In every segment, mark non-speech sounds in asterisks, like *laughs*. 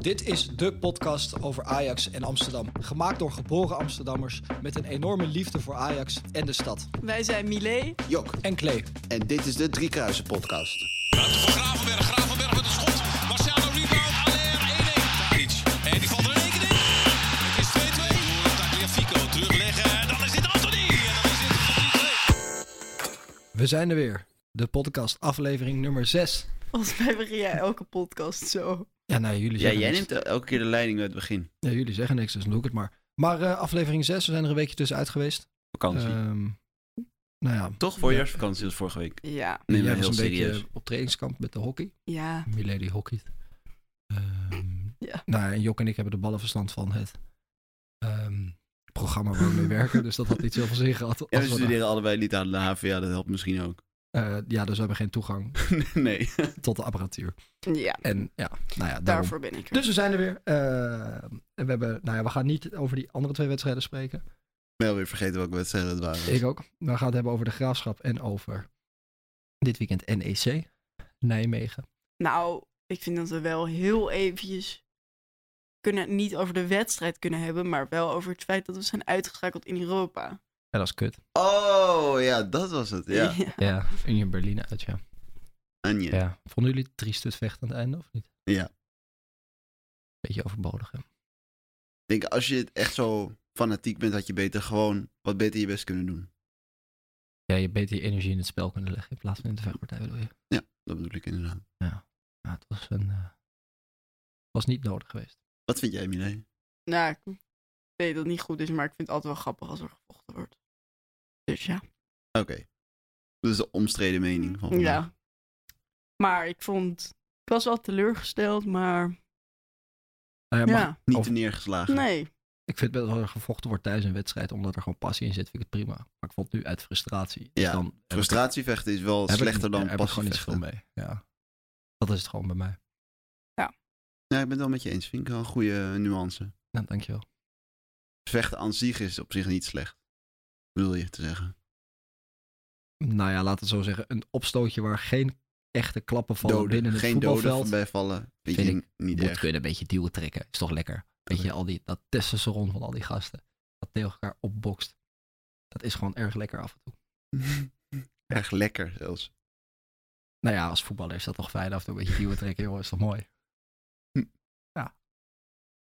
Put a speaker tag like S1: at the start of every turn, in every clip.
S1: Dit is de podcast over Ajax en Amsterdam. Gemaakt door geboren Amsterdammers met een enorme liefde voor Ajax en de stad.
S2: Wij zijn Milé.
S3: Jok,
S1: En Klee.
S3: en dit is de Driekruisen podcast.
S4: Ruimte voor Gravenberg. Gravenberg met een schot. Marciano rebound. Aller 1-1. Tadic. En die valt er in één keer in. Het is 2-2. Tagliafico terugleggen. En dan is dit Anthony. En dan is dit
S1: We zijn er weer. De podcast aflevering nummer 6.
S2: Volgens mij begin jij elke podcast zo.
S1: Ja, nou, jullie
S5: Ja,
S1: zeggen
S5: jij
S1: niks.
S5: neemt elke keer de leiding bij het begin.
S1: Ja, jullie zeggen niks, dus dan doe ik het maar. Maar eh, aflevering 6, we zijn er een weekje tussenuit geweest.
S5: Vakantie.
S1: Ehm, nou ja,
S5: Toch? Voorjaarsvakantie was vorige week.
S2: Ja,
S5: Neem
S1: jij
S5: me
S1: was
S5: heel
S1: een
S5: serieus.
S1: beetje op trainingskamp met de hockey.
S2: ja.
S1: Milady hockey. Ehm,
S2: *laughs* Ja.
S1: Nou ja, en Jok en ik hebben de ballenverstand van het ehm, programma waar we mee werken. Dus dat had niet zoveel zin gehad.
S5: Ja,
S1: als
S5: we
S1: we daar-
S5: studeren allebei niet aan de HVA, dat helpt misschien ook. *laughs*
S1: Eh, ja, dus we hebben geen toegang
S5: nee.
S1: tot de apparatuur.
S2: Ja,
S1: En ja, nou ja, daarom.
S2: daarvoor ben ik er.
S1: Dus we zijn er weer. Eh, en we, hebben, nou ja, we gaan niet over die andere twee wedstrijden spreken.
S5: Ik ben alweer vergeten welke wedstrijden het waren.
S1: Ik ook. We gaan het hebben over de graafschap en over dit weekend NEC, Nijmegen.
S2: Nou, ik vind dat we wel heel eventjes kunnen het niet over de wedstrijd kunnen hebben, maar wel over het feit dat we zijn uitgeschakeld in Europa.
S1: Ja, dat is kut.
S5: Oh, ja, dat was het.
S2: *laughs*
S5: Ja,
S1: Ja, Union Berlin uit, ja.
S5: Anje.
S1: ja. Vonden jullie het triest het vechten aan het einde of niet?
S5: Ja.
S1: Beetje overbodig, hè?
S5: Ik denk, als je het echt zo fanatiek bent, had je beter gewoon wat beter je best kunnen doen.
S1: Ja, je beter je energie in het spel kunnen leggen in plaats van in de vechtpartij, bedoel je?
S5: Dat bedoel ik inderdaad.
S1: Ja, het was, een, eh, was niet nodig geweest.
S5: Wat vind jij, Milé?
S2: Nou, ik weet dat het niet goed is, maar ik vind het altijd wel grappig als er gevochten wordt. Dus ja.
S5: Oké. Dat is de omstreden mening van vandaag.
S2: Ja. Maar ik vond, ik was wel teleurgesteld, maar
S1: Nou ja, maar
S2: ja,
S5: Niet
S1: Of-
S5: te neergeslagen.
S2: nee.
S1: ik vind wel dat er gevochten wordt tijdens een wedstrijd, omdat er gewoon passie in zit, vind ik het prima. Maar ik vond het nu uit frustratie. Dus
S5: Ja,
S1: dan heb ik-
S5: Frustratievechten is wel
S1: heb ik-
S5: slechter dan
S1: ja, heb ik gewoon niet
S5: passievechten.
S1: veel mee. Ja. Dat is het gewoon bij mij.
S5: Ja, ik ben het wel met je eens. Vind ik wel een goede eh, nuance.
S1: Nou, dankjewel.
S5: vechten aan zich is op zich niet slecht. Bedoel je te zeggen?
S1: Nou ja, laten we zo zeggen, een opstootje waar geen echte klappen vallen
S5: Doden,
S1: binnen het
S5: geen doden
S1: voetbalveld.
S5: voorbij vallen. Vind,
S1: Vind
S5: je niet
S1: moet
S5: erg.
S1: kunnen een beetje duwen trekken. Is toch lekker. Weet je, al die, dat testosteron van al die gasten. Dat tegen elkaar opbokst. Dat is gewoon erg lekker af en toe.
S5: *laughs* erg lekker zelfs.
S1: Nou ja, als voetballer is dat toch fijn af en toe een beetje duwen trekken, joh. Is toch mooi?
S5: Hm.
S1: Ja.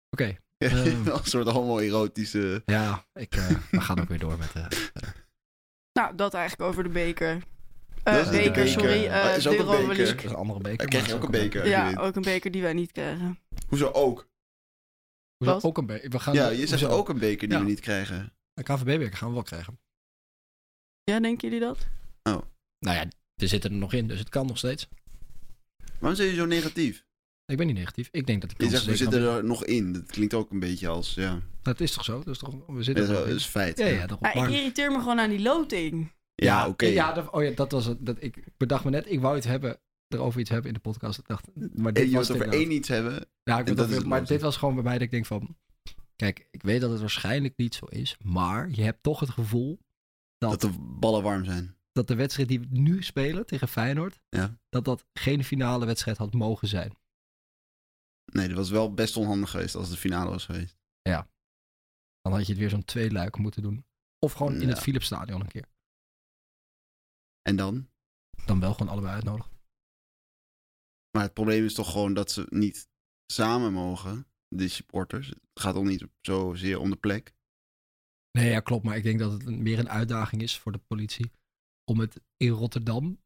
S1: Oké. Ehm.
S5: *laughs* Wel een soort homoerotische...
S1: Ja, ik, eh,
S5: *laughs*
S1: we gaan ook weer door met... eh,
S2: Nou, dat eigenlijk over de beker. Eh,
S5: Dat is Oh,
S1: de
S2: beker,
S1: beker.
S2: sorry.
S1: Maar
S2: eh,
S5: is
S2: de
S5: ook een
S2: Europa
S5: beker.
S2: League.
S1: dat is een andere beker.
S5: Dan krijg je
S1: maar
S5: ook een
S1: het is
S5: beker.
S2: Ja,
S5: Weet-
S2: ook een beker die wij niet krijgen.
S5: *laughs* Hoezo ook?
S1: Hoezo
S2: Wat?
S1: ook een beker? We gaan
S5: Ja, je zegt
S1: Ah, hoezo?
S5: ook een beker die
S1: Ja.
S5: we niet krijgen.
S1: Een KVB-beker gaan we wel krijgen.
S2: Ja, denken jullie dat?
S1: Nou ja, we zitten er nog in, dus het kan nog steeds.
S5: Waarom zijn je zo negatief?
S1: Ik ben niet negatief. Ik denk dat ik
S5: Je zegt, we zitten er nog in. Dat klinkt ook een beetje als... Ja,
S1: Dat is toch zo? Dat is toch... We
S5: dat
S1: zitten
S5: is,
S1: er nog
S5: wel-
S1: in.
S5: is feit.
S1: Ja, ja, daarom.
S2: Ah, ik
S1: Maar-
S2: irriteer me gewoon aan die loting.
S5: Ja, oké.
S1: Ja, dat, oh ja, dat was het. Dat, ik bedacht me net, ik wou het hebben, erover iets hebben in de podcast. Ik dacht, maar dit
S5: En je
S1: was
S5: wilt
S1: het
S5: over
S1: inderdaad.
S5: één iets hebben.
S1: Ja, ik
S5: en
S1: bedoel,
S5: dat is het
S1: maar
S5: logische.
S1: dit was gewoon bij mij dat ik denk van, kijk, ik weet dat het waarschijnlijk niet zo is, maar je hebt toch het gevoel
S5: Dat de ballen warm zijn.
S1: dat de wedstrijd die we nu spelen tegen Feyenoord,
S5: Ja.
S1: dat dat geen finale wedstrijd had mogen zijn.
S5: Nee, dat was wel best onhandig geweest als de finale was geweest.
S1: Dan had je het weer zo'n twee luik moeten doen. Of gewoon in het
S5: Ja.
S1: Philipsstadion een keer.
S5: En dan?
S1: Dan wel gewoon allebei uitnodigen.
S5: Maar het probleem is toch gewoon dat ze niet samen mogen, de supporters. Het gaat om niet zozeer om de plek.
S1: Nee, ja, klopt. Maar ik denk dat het een- meer een uitdaging is voor de politie om het in Rotterdam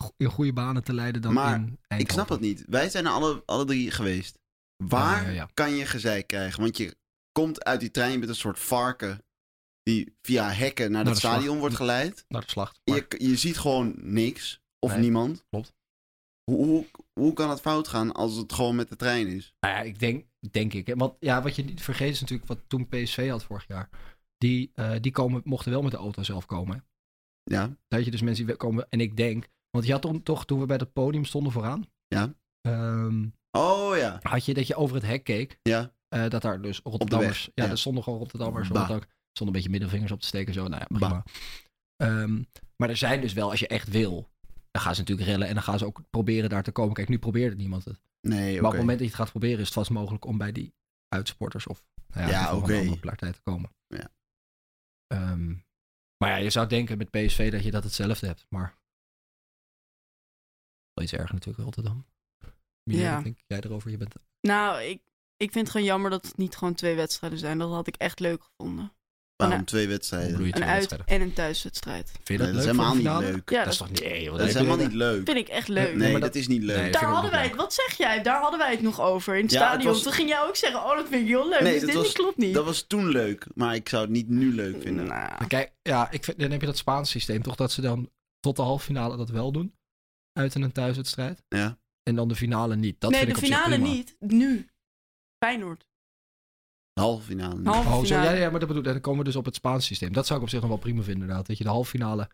S1: go- in goede banen te leiden dan
S5: Maar
S1: in
S5: Ik snap
S1: Eindhoven.
S5: het niet. Wij zijn er alle, alle drie geweest. Waar
S1: Ja, ja, ja.
S5: kan je gezeik krijgen? Want je komt uit die trein met een soort varken die via hekken naar
S1: Naar
S5: het
S1: de
S5: stadion
S1: slag-
S5: wordt geleid.
S1: Naar de slacht.
S5: Je, je ziet gewoon niks of
S1: Nee,
S5: niemand.
S1: klopt.
S5: Hoe, hoe, hoe kan het fout gaan als het gewoon met de trein is?
S1: Nou ja, ik denk, denk ik. hè. Want ja, wat je niet vergeet is natuurlijk wat toen PSV had vorig jaar. Die, eh, die komen, mochten wel met de auto zelf komen. hè.
S5: Ja,
S1: Daar had je dus mensen die komen. En ik denk, want je had toen toch, toen we bij dat podium stonden vooraan.
S5: Ja.
S1: ehm,
S5: oh ja.
S1: had je dat je over het hek keek.
S5: Ja.
S1: eh, dat daar dus Rotterdammers. ja,
S5: ja.
S1: er stonden gewoon Rotterdammers.
S5: Bah.
S1: Omdat ook stonden een beetje middelvingers op te steken. Zo, nou ja,
S5: Bah.
S1: prima. Ehm, maar er zijn dus wel, als je echt wil. Dan gaan ze natuurlijk rellen en dan gaan ze ook proberen daar te komen. Kijk, nu probeerde niemand het.
S5: Nee,
S1: Maar
S5: oké.
S1: op het moment dat je het gaat proberen, is het vast mogelijk om bij die uitsporters of nou
S5: Ja,
S1: in ieder geval
S5: oké.
S1: een andere partij te komen.
S5: Ja.
S1: Ehm, maar ja, je zou denken met PSV dat je dat hetzelfde hebt, maar wel iets erger natuurlijk Rotterdam. Milena,
S2: Ja.
S1: wat denk jij erover? Je bent
S2: Nou, ik, ik vind het gewoon jammer dat het niet gewoon twee wedstrijden zijn. Dat had ik echt leuk gevonden.
S5: Waarom twee
S1: hoe bedoel
S5: wedstrijden?
S1: je
S2: Een
S1: twee
S2: uit-
S1: wedstrijden?
S2: en een thuiswedstrijd.
S1: Vind je
S5: Nee,
S1: dat,
S5: dat is
S1: leuk voor
S5: helemaal
S1: de
S5: niet
S1: finale?
S5: leuk.
S2: Ja,
S1: dat is
S2: dat,
S1: toch nee, joh,
S5: Dat is
S1: nee,
S5: helemaal niet leuk.
S2: vind ik echt leuk.
S1: Nee,
S5: Nee,
S1: maar
S5: dat is niet
S1: Nee, dat
S2: Daar
S5: leuk.
S1: vind ik
S2: hadden
S1: ook
S2: wij het,
S1: leuk.
S2: wat zeg jij? Daar hadden wij het nog over in het
S5: Ja, het
S2: stadion.
S5: was-
S2: Toen ging jij ook zeggen, oh dat vind ik heel leuk.
S5: Nee,
S2: dus
S5: dat
S2: dit
S5: was-
S2: dit klopt niet.
S5: Dat was toen leuk, maar ik zou het niet nu leuk vinden.
S2: Nou,
S1: Maar Kijk, ja, ik vind, dan heb je dat Spaans systeem toch dat ze dan tot de halve finale dat wel doen uit en een thuiswedstrijd.
S5: Ja.
S1: En dan de finale niet. Dat
S2: nee,
S1: vind
S2: de
S1: ik op zich
S2: finale
S1: prima.
S2: niet. Nu. Feyenoord.
S5: Halve finale. niet.
S2: Halve
S1: Oh, zo,
S2: finale.
S1: ja, ja, maar dat bedoel, dan komen we dus op het Spaans systeem. Dat zou ik op zich nog wel prima vinden, inderdaad. Dat je de halve finale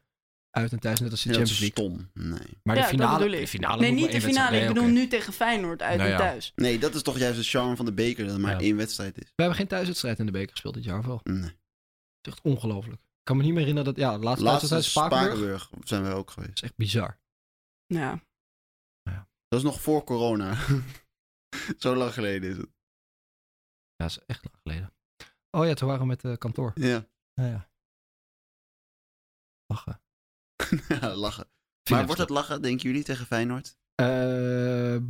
S1: uit en thuis, net als de
S5: Ja, dat is
S1: Champions League.
S5: stom. Nee.
S1: Maar de
S2: Ja, dat
S1: finale,
S2: bedoel ik.
S1: de finale
S2: Nee,
S1: moet
S2: niet
S1: maar
S2: de
S1: één
S2: finale. Ik
S1: wedstrijd-
S2: bedoel
S1: nee, oké.
S2: nu tegen Feyenoord uit
S1: Nou
S2: en
S1: ja.
S2: thuis.
S5: nee, dat is toch juist de charme van de beker, dat er maar
S1: Ja.
S5: één wedstrijd is.
S1: We hebben geen thuiswedstrijd in de beker gespeeld dit jaar, of wel. Het
S5: Nee.
S1: is echt ongelooflijk. Ik kan me niet meer herinneren dat, ja, de laatste
S5: Laatste
S1: thuiswedstrijd Spakenburg.
S5: Spakenburg zijn we ook
S1: Dat
S5: geweest.
S1: is echt bizar.
S2: Ja.
S5: Dat is nog voor corona. *laughs* Zo lang geleden is het.
S1: Ja, dat is echt lang geleden. Oh ja, toen waren we met eh, kantoor.
S5: Ja, *laughs*
S1: Ja, ja. Lachen.
S5: Ja, lachen. Maar wordt het lachen, denken jullie, tegen Feyenoord?
S1: Ehm,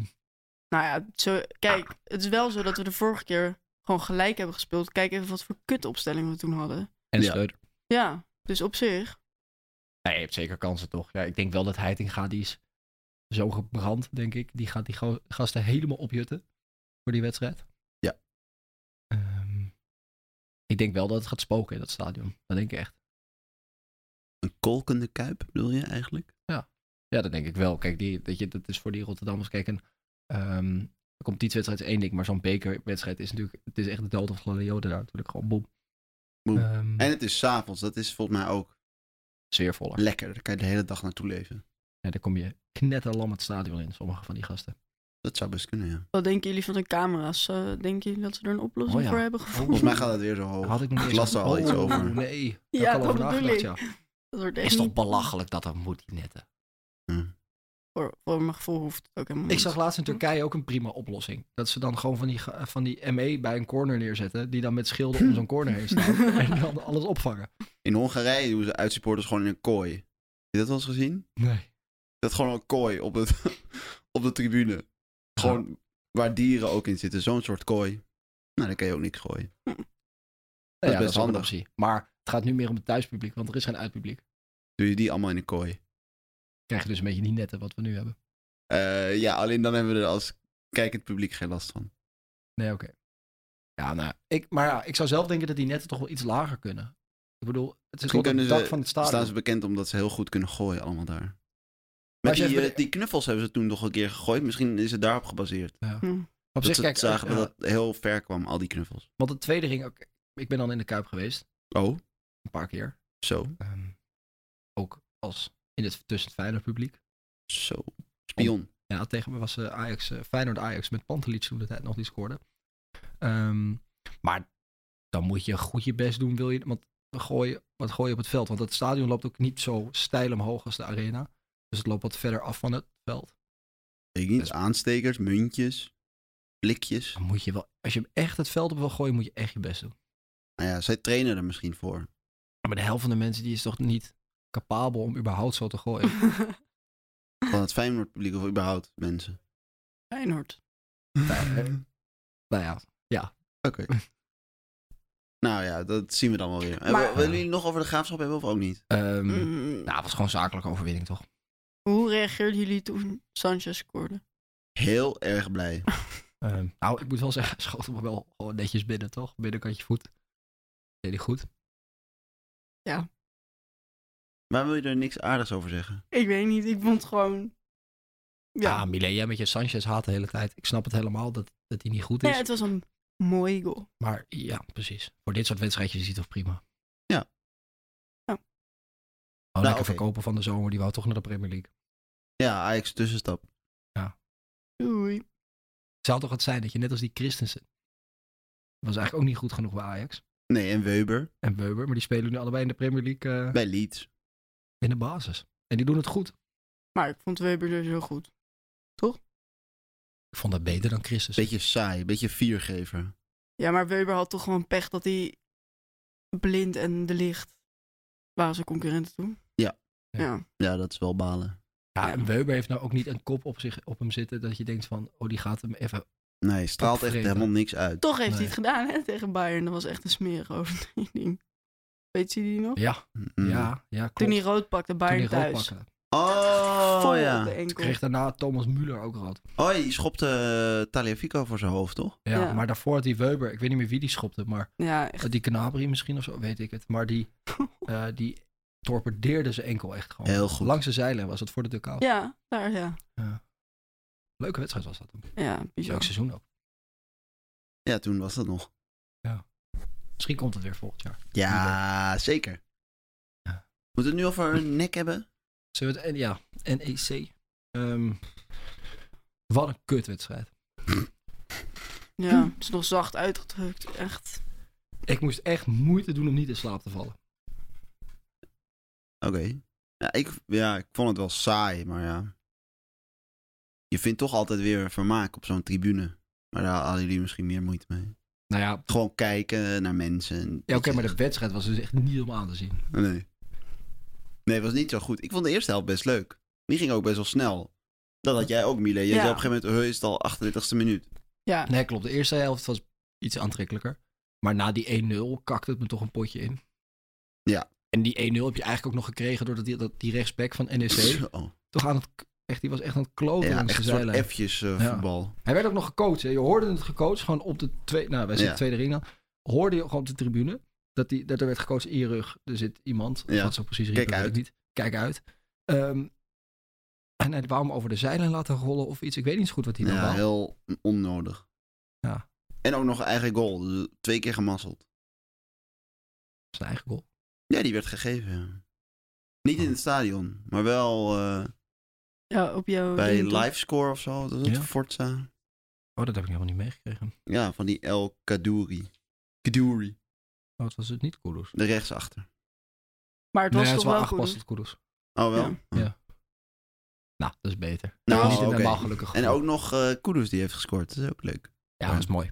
S2: Nou ja, zo, kijk, het is wel zo dat we de vorige keer gewoon gelijk hebben gespeeld. Kijk even wat voor kutopstelling we toen hadden.
S1: en
S5: Ja.
S1: Schreuder.
S2: Ja, dus op zich.
S1: Hij heeft zeker kansen, toch? Ja, ik denk wel dat Heitinga, die is zo gebrand, denk ik. Die gaat die go- gasten helemaal opjutten voor die wedstrijd.
S5: Ja.
S1: Ehm, ik denk wel dat het gaat spoken in dat stadion. Dat denk ik echt.
S5: Een kolkende kuip, bedoel je eigenlijk?
S1: Ja, dat denk ik wel. Kijk, die, dat, je, dat is voor die Rotterdammers. Kijk, een ehm competitiewedstrijd is één ding, maar zo'n bekerwedstrijd is natuurlijk... Het is echt de dood of gladiolen daar natuurlijk. Gewoon boem.
S5: Boem.
S1: Ehm,
S5: En het is s'avonds, dat is volgens mij ook
S1: sfeervoller.
S5: lekker. Daar kan je de hele dag naartoe leven.
S1: Ja, daar kom je knetterlam het stadion in, sommige van die gasten.
S5: Dat zou best kunnen, ja.
S2: Wat denken jullie van de camera's? Eh, denken jullie dat ze er een oplossing
S1: Oh ja.
S2: voor hebben
S5: Volgens
S2: gevonden?
S1: *laughs*
S5: mij gaat het weer zo hoog.
S1: Had ik nog niet
S5: Ik las
S1: eens-
S5: er al iets
S1: Oh,
S5: over.
S1: Nee, Daar
S2: Ja,
S1: kan
S2: dat
S1: over
S2: bedoel
S1: nagedacht,
S2: ik.
S1: ja.
S2: Dat wordt echt
S1: Is toch
S2: niet-
S1: belachelijk dat dat moet, die netten.
S2: Voor, voor mijn gevoel hoeft het ook helemaal
S1: Ik
S2: niet.
S1: zag laatst in Turkije ook een prima oplossing. Dat ze dan gewoon van die, ge- van die ME bij een corner neerzetten. Die dan met schilden om zo'n corner heen
S2: *laughs*
S1: staan. en dan alles opvangen.
S5: In Hongarije doen ze uitsupporters gewoon in een kooi. Heb je dat wel eens gezien?
S1: Nee.
S5: Dat is gewoon een kooi op, het, *laughs* op de tribune. Gewoon waar dieren ook in zitten. Zo'n soort kooi. Nou, daar kan je ook niks gooien.
S1: Dat
S5: best
S1: ja, dat is ook een
S5: handig.
S1: optie. Maar het gaat nu meer om het thuispubliek. Want er is geen uitpubliek.
S5: Doe je die allemaal in een kooi.
S1: Krijg je dus een beetje die netten wat we nu hebben.
S5: Eh, ja, alleen dan hebben we er als kijkend publiek geen last van.
S1: Nee, oké. Ja, nou. Ik, maar ja, ik zou zelf denken dat die netten toch wel iets lager kunnen. Ik bedoel, het is
S5: Misschien
S1: gewoon
S5: kunnen
S1: het dak
S5: ze,
S1: van het
S5: staan ze
S1: stadion.
S5: bekend omdat ze heel goed kunnen gooien allemaal daar.
S1: Maar
S5: Met
S1: als je
S5: die,
S1: even-
S5: eh, die knuffels hebben ze toen nog een keer gegooid. Misschien is het daarop gebaseerd.
S2: Hm,
S1: Op
S5: dat
S1: zich,
S5: ze
S1: kijk, eh,
S5: zagen
S1: ja,
S5: dat dat heel ver kwam, al die knuffels.
S1: want het tweede ging ook... Ik ben dan in de Kuip geweest.
S5: Oh,
S1: Een paar keer.
S5: zo,
S1: Ehm, ook als in het tussen het Feyenoord publiek.
S5: zo. Spion.
S1: Ja, tegen me was eh, Ajax, eh, Feyenoord Ajax met Pantelic toen de tijd nog die scoorde. Ehm, maar dan moet je goed je best doen, wil je, want we gooien, wat gooi je op het veld? Want het stadion loopt ook niet zo steil omhoog als de arena. Dus het loopt wat verder af van het veld.
S5: Weet ik
S1: Dus
S5: niet, aanstekers, muntjes, blikjes.
S1: Dan moet je wel, als je hem echt het veld op wil gooien, moet je echt je best doen.
S5: Nou ja, zij trainen er misschien voor.
S1: Maar de helft van de mensen die is toch niet capabel om überhaupt zo te gooien.
S5: Van het Feyenoord publiek of überhaupt mensen.
S2: Feyenoord.
S1: nou nou ja,
S5: Oké. nou ja, dat zien we dan wel weer.
S2: Maar-
S5: Hebben- Willen jullie nog over de graafschap hebben of ook niet?
S1: ehm,
S2: Mm.
S1: nou, het was gewoon zakelijke overwinning toch?
S2: Hoe reageerden jullie toen Sanchez scoorde?
S5: Heel erg blij.
S1: Ehm, nou, ik moet wel zeggen, hij schoot hem wel gewoon netjes binnen, toch? Binnenkantje voet. Deed hij goed.
S5: Waar wil je er niks aardigs over zeggen?
S2: Ik weet niet, ik vond het gewoon...
S1: Ja,
S2: Ja,
S1: Millet, jij Ah, met je Sanchez haat de hele tijd. Ik snap het helemaal dat, dat hij niet goed is.
S2: ja het was een mooi goal.
S1: Maar ja, precies. Voor dit soort wedstrijdjes is hij toch prima.
S5: Ja.
S2: Ja.
S1: Oh, lekker
S5: oké.
S1: verkopen van de zomer. Die wou toch naar de Premier League.
S5: Ja, Ajax tussenstap.
S2: Doei.
S1: Zou toch het zijn dat je net als die Christensen... Was eigenlijk ook niet goed genoeg bij Ajax.
S5: Nee, en Weber
S1: En Weber. Maar die spelen nu allebei in de Premier League eh,
S5: bij Leeds.
S1: in de basis. En die doen het goed.
S2: Maar ik vond Weber dus heel goed.
S1: Ik vond dat beter dan Christus.
S5: Beetje saai, beetje viergever.
S2: Ja, maar Weber had toch gewoon pech dat hij blind en de licht waren zijn concurrenten toen.
S5: Ja.
S1: Ja.
S2: Ja.
S5: Ja, dat is wel balen.
S1: Ja, en Weber heeft nou ook niet een kop op, zich, op hem zitten dat je denkt van, oh die gaat hem even...
S5: Nee, straalt echt
S1: Opvreten.
S5: helemaal niks uit.
S2: Toch heeft
S1: Nee.
S2: hij het gedaan hè, tegen Bayern. Dat was echt een smerig *laughs* overtreding. Weet je die nog?
S1: Ja,
S5: Mm.
S1: ja, ja, klopt.
S2: Toen hij rood pakte, Bayern
S1: Toen hij rood
S2: thuis.
S1: pakken.
S5: Oh
S2: Vol op de
S5: ja.
S1: Toen
S2: enkel.
S1: kreeg daarna Thomas Müller ook rood.
S5: Oh, die schopte eh, Taliafico voor zijn hoofd, toch?
S1: Ja,
S2: Ja.
S1: maar daarvoor had die Weber, ik weet niet meer wie die schopte, maar
S2: Ja, echt.
S1: die Canabri misschien of zo, weet ik het. Maar
S2: *laughs*
S1: die, eh, die torpedeerde zijn enkel echt gewoon.
S5: Heel goed.
S1: Langs de zeilen was het voor de dugout.
S2: Ja, daar ja.
S1: Leuke wedstrijd was dat.
S2: Ja,
S1: Leuk
S2: bizar.
S1: seizoen ook.
S5: Ja, toen was dat nog.
S1: Misschien komt het weer volgend jaar.
S5: Ja, zeker.
S1: Ja.
S5: Moet het nu over een nek hebben?
S1: Zullen we het, en ja, NEC. Ehm, wat een kutwedstrijd.
S2: Ja, het is nog zacht uitgedrukt. Echt.
S1: Ik moest echt moeite doen om niet in slaap te vallen.
S5: Oké. Ja, ik, ja, ik vond het wel saai, maar ja. Je vindt toch altijd weer vermaak op zo'n tribune. Maar daar hadden jullie misschien meer moeite mee.
S1: Nou ja,
S5: Gewoon kijken naar mensen. en-
S1: ja oké, maar
S5: eh,
S1: de wedstrijd was dus echt niet om aan te zien.
S5: Nee. Nee, het was niet zo goed. Ik vond de eerste helft best leuk. Die ging ook best wel snel. Dat had jij ook, Mile. Je
S2: Ja.
S5: zei op een gegeven moment, "Huh, is het al 38e minuut.
S2: Ja.
S5: Ah.
S1: Nee, klopt. De eerste helft was iets aantrekkelijker. Maar na die 1-0 kakte het me toch een potje in.
S5: Ja.
S1: En die 1-0 heb je eigenlijk ook nog gekregen doordat die, dat die rechtsback van
S5: *laughs*
S1: NEC
S5: Oh,
S1: toch aan het, echt, die was echt aan het kloten
S5: ja,
S1: langs
S5: echt
S1: de
S5: een soort
S1: zijlijn.
S5: F'jes eh,
S1: Ja.
S5: voetbal.
S1: Hij werd ook nog gecoacht. Hè. Je hoorde het gecoacht, gewoon op de tweede, nou wij zitten
S5: Ja.
S1: tweede ring dan. Hoorde je gewoon op de tribune dat, die, dat er werd gecoacht in je rug. Er zit iemand,
S5: Ja.
S1: wat zo precies riep,
S5: Kijk
S1: dat weet
S5: uit.
S1: ik niet. Kijk uit. Ehm, en hij wou hem over de zijlijn laten rollen of iets. Ik weet niet zo goed wat hij dan
S5: Ja,
S1: wou.
S5: heel onnodig.
S1: Ja.
S5: En ook nog een eigen goal. Dus twee keer gemazzeld.
S1: Zijn eigen goal.
S5: Ja, die werd gegeven. ja. Niet
S1: Oh.
S5: in het stadion, maar wel eh,
S2: ja, op jouw...
S5: bij
S2: ding, toch?
S5: Livescore of zo. Dat is het
S1: Ja.
S5: Forza.
S1: Oh, dat heb ik helemaal niet meegekregen.
S5: Ja, van die El Kadouri. Kadouri.
S1: Oh, het was het niet Kudus.
S5: De rechtsachter.
S2: Maar het was
S1: nee, het is
S2: toch
S1: wel
S2: wel
S1: aangepast
S2: goed.
S1: tot Kudus.
S5: Oh, wel?
S2: Ja.
S5: Oh.
S1: Ja. Nou, dat is beter.
S5: Nou,
S1: niet in
S5: oké.
S1: normaal gelukkig.
S5: En ook nog eh Kudus die heeft gescoord. Dat is ook leuk.
S1: Ja, dat is mooi.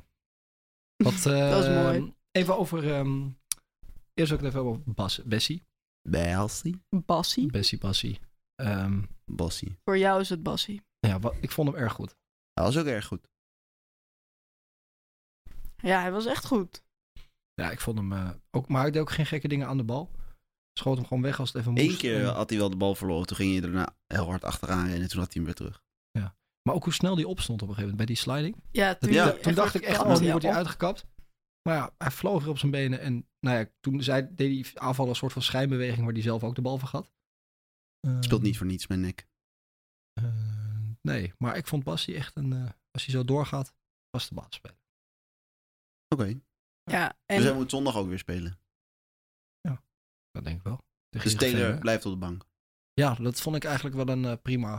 S1: Wat,
S2: Dat is
S1: eh,
S2: mooi.
S1: Even over... ehm, eerst ook even over Bas, Bessie.
S5: Bassie?
S2: Bassie.
S1: Bessie Bassie. Ehm, nou
S5: Bassie.
S2: Voor jou is het Bassie.
S1: ja, wat, ik vond hem erg goed.
S5: Hij was ook erg goed.
S2: Ja, hij was echt goed.
S1: Ja, ik vond hem eh, ook... Maar hij deed ook geen gekke dingen aan de bal. Schoot hem gewoon weg als het even moest.
S5: Eén keer
S1: En-
S5: had hij wel de bal verloren. Toen ging hij daarna heel hard achteraan rennen. Toen had hij hem weer terug.
S1: maar ook hoe snel die opstond op een gegeven moment bij die sliding.
S2: Ja, toen,
S1: Dat-
S5: Ja,
S2: hij
S1: toen dacht ik
S2: werd
S1: echt,
S2: gekapt,
S1: oh, nu
S2: ja,
S1: wordt hij
S2: op.
S1: uitgekapt. Maar ja, hij vloog weer op zijn benen. En nou ja, toen zei, deed die aanval een soort van schijnbeweging waar hij zelf ook de bal vergat. Eh,
S5: Speelt niet voor niets mijn nek.
S1: Eh, nee, maar ik vond Bassie echt een. eh, als hij zo doorgaat, was de baas spelen.
S5: Oké.
S2: Ja, en
S5: Dus hij moet zondag ook weer spelen.
S1: Dat denk ik wel. Tegen
S5: Dus
S1: Heerenveen,
S5: Taylor
S1: hè?
S5: blijft op de bank.
S1: Ja, dat vond ik eigenlijk wel een eh, prima.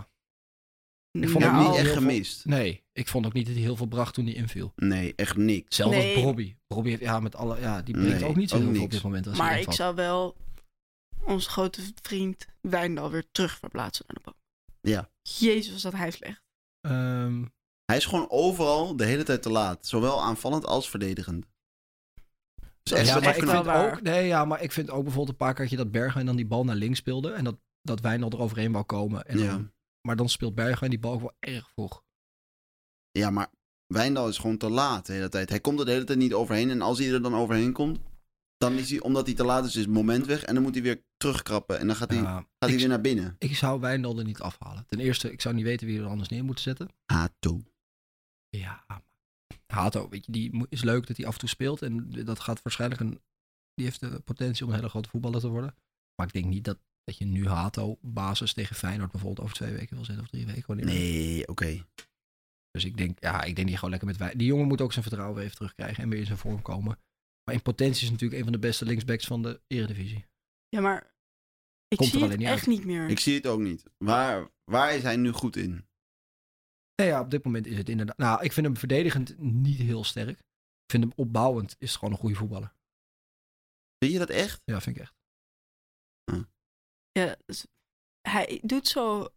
S1: Ik vond
S5: Ik heb hem
S1: Nou,
S5: niet echt
S1: heel veel-
S5: gemist.
S1: Nee, ik vond ook niet dat hij heel veel bracht toen hij inviel.
S5: Nee, echt niks.
S1: Zelfs
S2: Nee.
S1: als Robbie. Robbie heeft, ja, met alle, ja, die brengt
S5: Nee,
S1: ook niet zo
S5: ook
S1: heel veel op
S5: niks.
S1: dit moment. Als hij
S2: maar ik
S1: invalt.
S2: zou wel onze grote vriend Wijndal weer terug verplaatsen naar de bank.
S5: Ja.
S2: Jezus, was dat hij slecht.
S1: Ehm,
S5: Hij is gewoon overal de hele tijd te laat. Zowel aanvallend als verdedigend. Dus echt
S1: ja,
S5: zo
S1: maar ik
S5: echt
S2: wel
S1: vind
S2: waar.
S1: ook, nee, ja, maar ik vind ook bijvoorbeeld een paar keertje dat Bergen en dan die bal naar links speelde. En dat, dat Wijnald er overheen wou komen. En
S5: een-
S1: dan-
S5: ja.
S1: maar dan speelt Bergen en die bal ook wel erg vroeg.
S5: ja, maar Wijndal is gewoon te laat de hele tijd. Hij komt er de hele tijd niet overheen. En als hij er dan overheen komt, dan is hij, omdat hij te laat is, is het moment weg. En dan moet hij weer terugkrappen. En dan gaat hij,
S1: Ja,
S5: gaat hij
S1: ik-
S5: weer naar binnen.
S1: Ik zou Wijndal er niet afhalen. Ten eerste, ik zou niet weten wie er anders neer moet zetten.
S5: Hato.
S1: Ja, maar Hato, weet je, die mo- is leuk dat hij af en toe speelt. En dat gaat waarschijnlijk een... Die heeft de potentie om een hele grote voetballer te worden. Maar ik denk niet dat, dat je nu Hato basis tegen Feyenoord bijvoorbeeld over twee weken wil zetten of drie weken. wanneer.
S5: Nee, oké.
S1: Dus ik denk, ja, ik denk die gewoon lekker met wij. Die jongen moet ook zijn vertrouwen weer even terugkrijgen en weer in zijn vorm komen. Maar in potentie is het natuurlijk een van de beste linksbacks van de Eredivisie.
S2: Ja, maar ik
S1: Komt er
S2: zie het
S1: alleen niet
S2: echt
S1: uit.
S2: niet meer.
S5: Ik zie het ook niet. Waar, waar is hij nu goed in?
S1: Nou ja, op dit moment is het inderdaad. Nou, ik vind hem verdedigend niet heel sterk. Ik vind hem opbouwend is het gewoon een goede voetballer.
S5: Zie je dat echt?
S1: Ja, vind ik echt.
S2: Ja, dus hij doet zo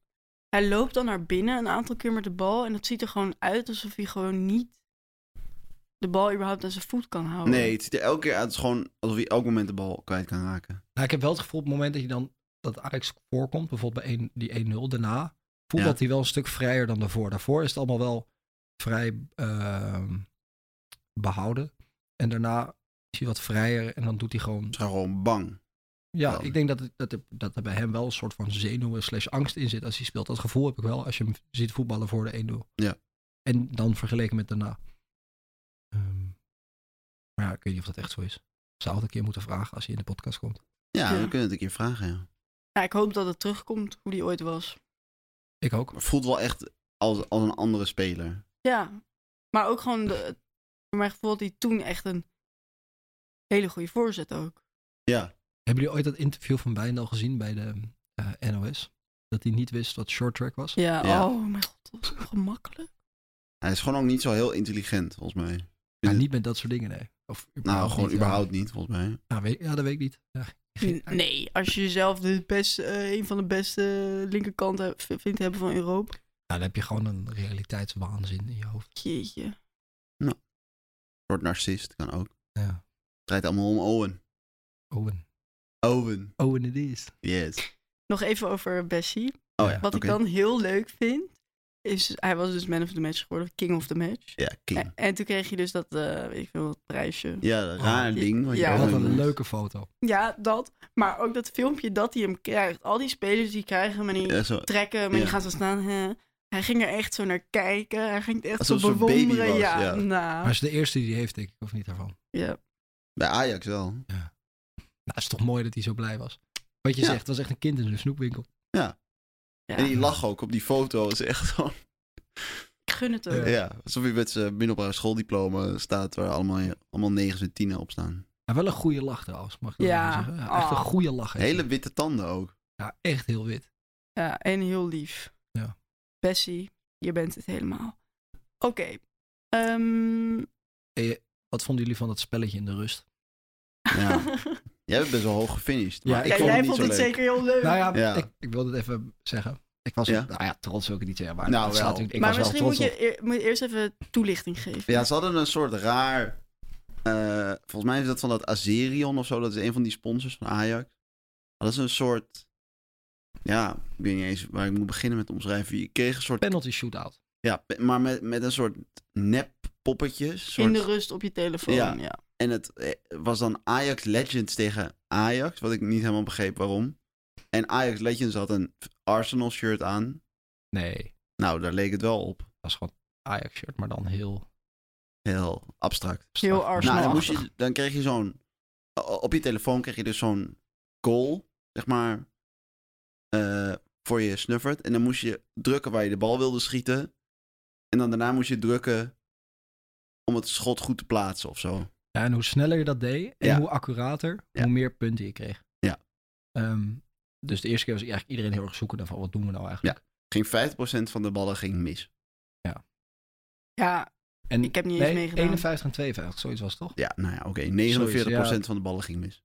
S2: Hij loopt dan naar binnen een aantal keer met de bal. En dat ziet er gewoon uit alsof hij gewoon niet de bal überhaupt aan zijn voet kan houden.
S5: Nee, het ziet er elke keer uit. Het is gewoon alsof hij elk moment de bal kwijt kan raken.
S1: Nou, ik heb wel het gevoel op het moment dat je dan dat Ajax voorkomt, bijvoorbeeld bij één- die 1-0 daarna, voetbalt
S5: Ja.
S1: hij wel een stuk vrijer dan daarvoor. Daarvoor is het allemaal wel vrij ehm, behouden. En daarna is hij wat vrijer en dan doet hij gewoon...
S5: Het is gewoon bang.
S1: Ja,
S5: wel.
S1: ik denk dat, het- dat, er- dat er bij hem wel een soort van zenuwen slash angst in zit als hij speelt. Dat gevoel heb ik wel als je hem ziet voetballen voor de 1-0.
S5: Ja.
S1: En dan vergeleken met daarna. Ehm, maar ja, ik weet niet of dat echt zo is. Zou het een keer moeten vragen als hij in de podcast komt.
S5: Ja,
S2: Ja.
S5: we kunnen het een keer vragen. Ja.
S2: Nou, ik hoop dat het terugkomt hoe die ooit was.
S1: Ik ook.
S5: Maar voelt wel echt als, als een andere speler.
S2: Ja, maar ook gewoon, de, voor mijn gevoel had hij toen echt een hele goede voorzet ook.
S5: Ja.
S1: Hebben jullie ooit dat interview van Wijndal gezien bij de eh, NOS? Dat hij niet wist wat short track was?
S2: Ja,
S5: Ja.
S2: oh mijn god, dat was ongemakkelijk.
S5: Hij is gewoon ook niet zo heel intelligent, volgens mij.
S1: Maar niet met dat soort dingen, nee. Of
S5: Nou,
S1: überhaupt
S5: gewoon
S1: niet, ja.
S5: überhaupt niet, volgens mij.
S1: Ja, weet, ja, dat weet ik niet. Ja, geen-
S2: Nee, als je jezelf de beste, eh, een van de beste linkerkanten v- vindt hebben van Europa.
S1: Ja, Nou, dan heb je gewoon een realiteitswaanzin in je hoofd.
S2: Jeetje.
S5: Wordt narcist, kan ook.
S1: Ja.
S5: Het draait allemaal om Owen.
S1: Owen.
S5: Owen,
S1: Owen het is.
S5: yes.
S2: Nog even over Bessie.
S5: Oh ja,
S2: Wat
S5: oké.
S2: ik dan heel leuk vind, is hij was dus man of the match geworden, king of the match.
S5: Ja, king.
S2: En, en toen kreeg je dus dat, eh, weet ik veel, dat prijsje.
S5: Ja, dat raar
S1: Oh,
S5: ding. Wat je
S2: ja.
S5: Owen
S1: Wat een
S5: noemt.
S1: leuke foto.
S2: Ja, dat. Maar ook dat filmpje dat hij hem krijgt. Al die spelers die krijgen hem en die
S5: Ja, zo,
S2: trekken hem en die
S5: Ja.
S2: gaan zo staan. hè. Hij ging er echt zo naar kijken. Hij ging het echt
S5: Alsof
S2: zo
S5: het zo'n baby
S2: bewonderen.
S5: was,
S2: ja,
S5: ja.
S1: Maar
S2: nou.
S1: is de eerste die die heeft, denk ik, of niet daarvan? Nou,
S2: Ja.
S5: bij Ajax wel.
S1: het is toch mooi dat hij zo blij was. Wat je
S5: Ja.
S1: zegt, het was echt een kind in een snoepwinkel.
S2: Ja.
S5: En die lach ook op die foto. is echt zo.
S2: Ik gun het
S5: Ja.
S2: ook.
S5: alsof je met zijn middelbare schooldiploma staat waar allemaal, allemaal negens en tienen op staan.
S1: Maar wel een goede lach trouwens, mag ik dat
S2: Ja.
S1: even zeggen. Ja, echt een
S2: Ah.
S1: goede lach. heeft
S5: Hele
S1: hij.
S5: witte tanden ook.
S1: Ja, echt heel wit.
S2: Ja, en heel lief.
S1: Ja.
S2: Bessie, je bent het helemaal. Oké.
S5: *laughs*
S2: Ehm,
S1: Wat vonden jullie van dat spelletje in de rust?
S2: *laughs*
S5: Ja. Jij hebt best wel hoog gefinished. maar
S1: Ja,
S5: ik
S2: ja,
S5: vond
S2: jij
S5: het niet
S2: vond
S5: zo
S2: het
S5: leuk.
S2: zeker heel leuk.
S1: Nou ja,
S5: Ja.
S1: Ik, ik wilde het even zeggen. Ik was,
S5: Ja?
S1: nou ja, trots wil ik het niet zeggen, maar
S5: Nou,
S1: het staat
S5: wel.
S1: natuurlijk- ik
S2: maar
S1: was
S2: misschien
S1: wel
S2: moet
S1: trots
S2: je, eer- moet je eerst even toelichting geven.
S5: Ja, ze hadden een soort raar. eh, volgens mij is dat van dat Azerion of zo. Dat is een van die sponsors van Ajax. Dat is een soort. Ja, ik weet niet eens waar ik moet beginnen met omschrijven. Je kreeg een
S1: op.
S5: soort.
S1: Penalty shootout.
S5: Ja, pe- maar met, met een soort nep poppetjes.
S2: In
S5: Soort,
S2: de rust op je telefoon.
S5: Ja.
S2: Ja.
S5: En het eh, was dan Ajax Legends tegen Ajax. Wat ik niet helemaal begreep waarom. En Ajax Legends had een Arsenal shirt aan.
S1: Nee, dat
S5: Nou, daar leek het wel op.
S1: was gewoon Ajax shirt, maar dan heel...
S5: Heel abstract.
S1: strak.
S2: Heel Arsenal.
S5: Nou, dan, moest
S2: Arsenalachtig.
S5: je, dan kreeg je zo'n... o- Op je telefoon kreeg je dus zo'n goal, zeg maar, eh, voor je snuffert. En dan moest je drukken waar je de bal wilde schieten. En dan daarna moest je drukken om het schot goed te plaatsen of zo.
S1: Ja, en hoe sneller je dat deed en
S5: Ja.
S1: hoe accurater,
S5: Ja.
S1: hoe meer punten je kreeg.
S5: Ja.
S1: Ehm, dus de eerste keer was eigenlijk iedereen heel erg zoekende van wat doen we nou eigenlijk.
S5: Ging 50% van de ballen ging mis.
S2: ja,
S1: En
S2: ik heb niet eens
S1: nee,
S2: meegedaan.
S1: 51 en 52, zoiets was het toch?
S5: Ja, nou ja, oké. 49% van de ballen ging mis.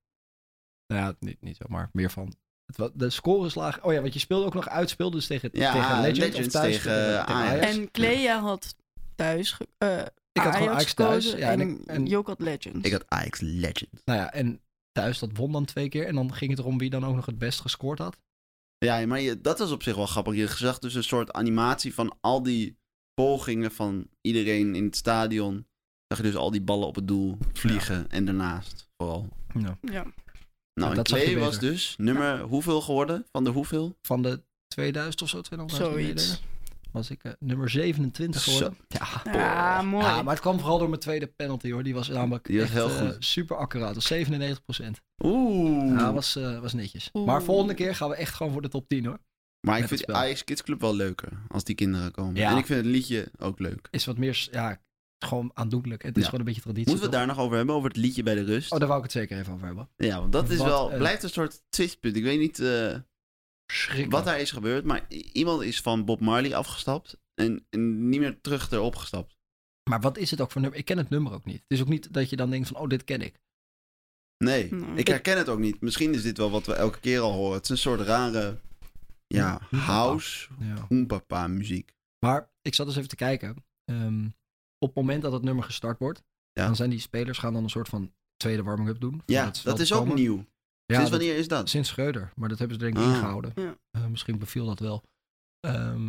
S1: Nou ja, niet, niet zo, maar meer van... Het, wa- de score is laag. Oh ja, want je speelde ook nog uitspeelde dus tegen,
S5: Ja,
S1: tegen Legend
S5: Legends
S1: of thuis
S5: tegen, eh, Ajax.
S2: En Clea had thuis ge- eh,
S1: Ik had gewoon
S2: Ajax
S1: Ajax thuis.
S2: gekozen
S1: Ja, en,
S2: en,
S1: ik- en-
S2: Jok had Legends.
S5: Ik had Ajax Legend.
S1: nou ja, en thuis dat won dan twee keer. En dan ging het erom wie dan ook nog het best gescoord had.
S5: Ja, maar je, dat was op zich wel grappig. Je zag dus een soort animatie van al die pogingen van iedereen in het stadion. Zag je dus al die ballen op het doel vliegen en daarnaast vooral.
S1: Ja.
S2: ja.
S5: Nou,
S1: Ja,
S5: en
S1: dat zag je
S5: Klee
S1: beter.
S5: was dus nummer hoeveel geworden? Van de hoeveel?
S1: Van de 2000 of zo, 2000
S2: Zoiets.
S1: was ik eh, nummer 27
S5: Zo.
S1: geworden. Ja.
S2: Ja, mooi.
S1: Ja, Ah, maar het kwam vooral door mijn tweede penalty hoor. Die was namelijk
S5: Die was
S1: echt,
S5: heel
S1: eh,
S5: goed.
S1: super accuraat. Dat was 97
S5: Oeh.
S1: Ja, was, eh, was netjes.
S2: Oeh.
S1: Maar volgende keer gaan we echt gewoon voor de top 10 hoor.
S5: maar
S1: met
S5: ik
S1: het
S5: vind
S1: spel.
S5: Ajax Kids Club wel leuker als die kinderen komen.
S1: Ja.
S5: En ik vind het liedje ook leuk.
S1: Is wat meer, s- ja, gewoon aandoenlijk. Het is
S5: Ja.
S1: gewoon een beetje traditie.
S5: Moeten we het
S1: toch?
S5: daar nog over hebben? Over het liedje bij de rust?
S1: Oh, daar wou ik het zeker even over hebben.
S5: ja, want dat is
S1: Wat
S5: wel,
S1: een-
S5: blijft een soort twistpunt. Ik weet niet... eh,
S1: Schrikkelijk.
S5: wat daar is gebeurd, maar i- iemand is van Bob Marley afgestapt en, en niet meer terug erop gestapt.
S1: Maar wat is het ook voor nummer? Ik ken het nummer ook niet. Het is ook niet dat je dan denkt van, oh, dit ken ik.
S5: Nee,
S2: Nee.
S5: ik herken het ook niet. Misschien is dit wel wat we elke keer al horen. Het is een soort rare Ja, house,
S1: Ja.
S5: hoenpapa muziek.
S1: Maar ik zat eens even te kijken. Ehm, op het moment dat het nummer gestart wordt,
S5: Ja.
S1: dan zijn die spelers gaan dan een soort van tweede warming-up doen.
S5: Ja,
S1: Voordat ze
S5: dat
S1: wel
S5: is ook
S1: komen.
S5: nieuw.
S1: Ja,
S5: Sinds
S1: dat-
S5: wanneer is dat?
S1: Sinds Schreuder, maar dat hebben ze denk ik
S5: Ah.
S1: ingehouden.
S2: Ja.
S1: Eh, misschien beviel dat wel. Ehm,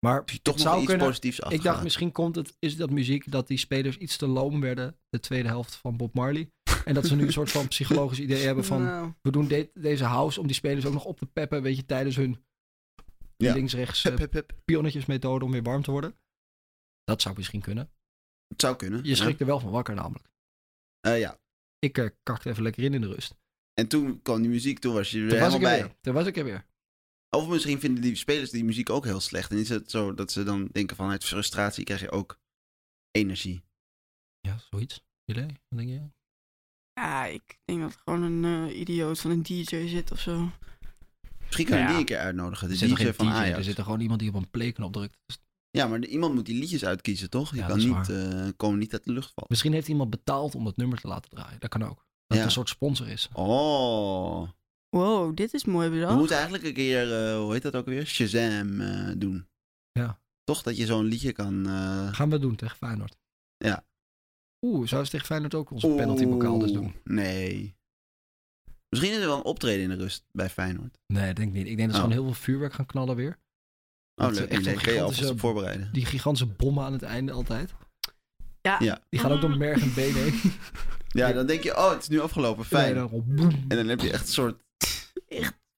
S1: maar
S5: Heb je
S1: het
S5: toch nog
S1: zou
S5: iets
S1: kunnen.
S5: positiefs
S1: Ik dacht misschien komt het, is dat muziek dat die spelers iets te loom werden, de tweede helft van Bob Marley. En dat ze nu een soort
S5: *laughs*
S1: van psychologisch idee hebben van,
S2: Nou,
S1: we doen dit- deze house om die spelers ook nog op te peppen, weet je, tijdens hun
S5: Ja.
S1: links-rechts eh,
S5: Hup, hup, hup.
S1: pionnetjesmethode om weer warm te worden. Dat zou misschien kunnen.
S5: Het zou kunnen.
S1: Je schrikt er wel van wakker namelijk.
S5: Ja. Eh, ja.
S1: Ik eh, kakte even lekker in in de rust.
S5: En toen kwam die muziek, toen was je er
S1: Toen was
S5: helemaal
S1: ik er
S5: bij.
S1: weer. Toen was ik er weer.
S5: Of misschien vinden die spelers die muziek ook heel slecht. En is het zo dat ze dan denken van uit frustratie krijg je ook energie.
S1: Ja, zoiets. Idee, wat denk je?
S2: ja, ik denk dat het gewoon een eh, idioot van een DJ zit of zo.
S5: Misschien kunnen we
S1: Nou ja.
S5: die een keer uitnodigen. De
S1: Er zit
S5: DJ
S1: er geen
S5: van
S1: DJ,
S5: Ajax.
S1: er zit er gewoon iemand die op een playknop drukt. Dus
S5: Ja, maar de- iemand moet die liedjes uitkiezen, toch? Je
S1: Ja, dat
S5: kan
S1: is
S5: niet, eh, komen niet uit de lucht vallen.
S1: misschien heeft iemand betaald om dat nummer te laten draaien. Dat kan ook. Dat
S5: Ja.
S1: het een soort sponsor is.
S5: Oh.
S2: Wow, dit is mooi
S5: We
S2: bedacht.
S5: moeten eigenlijk een keer, eh, hoe heet dat ook weer? Shazam eh, doen.
S1: Ja.
S5: Toch dat je zo'n liedje kan... eh,
S1: Gaan we doen tegen Feyenoord.
S5: Ja.
S1: Oeh, zou ze tegen Feyenoord ook onze penaltybokaal dus doen?
S5: Oeh, Nee. Misschien is er wel een optreden in de rust bij Feyenoord.
S1: Nee, dat denk ik niet. Ik denk dat ze
S5: Oh.
S1: gewoon heel veel vuurwerk gaan knallen weer.
S5: Oh,
S1: Dat ze
S5: leuk.
S1: echt
S5: idee.
S1: zo'n
S5: Kun je alvast
S1: gigantische-
S5: op voorbereiden.
S1: Die gigantische bommen aan het einde altijd.
S2: Ja.
S5: Ja.
S1: Die gaan ook
S2: Ah.
S1: door merg en been
S5: *laughs*
S1: heen.
S5: Ja, dan denk je, oh, het is nu afgelopen. Fijn.
S1: En dan gewoon boem.
S5: En dan heb je echt een soort...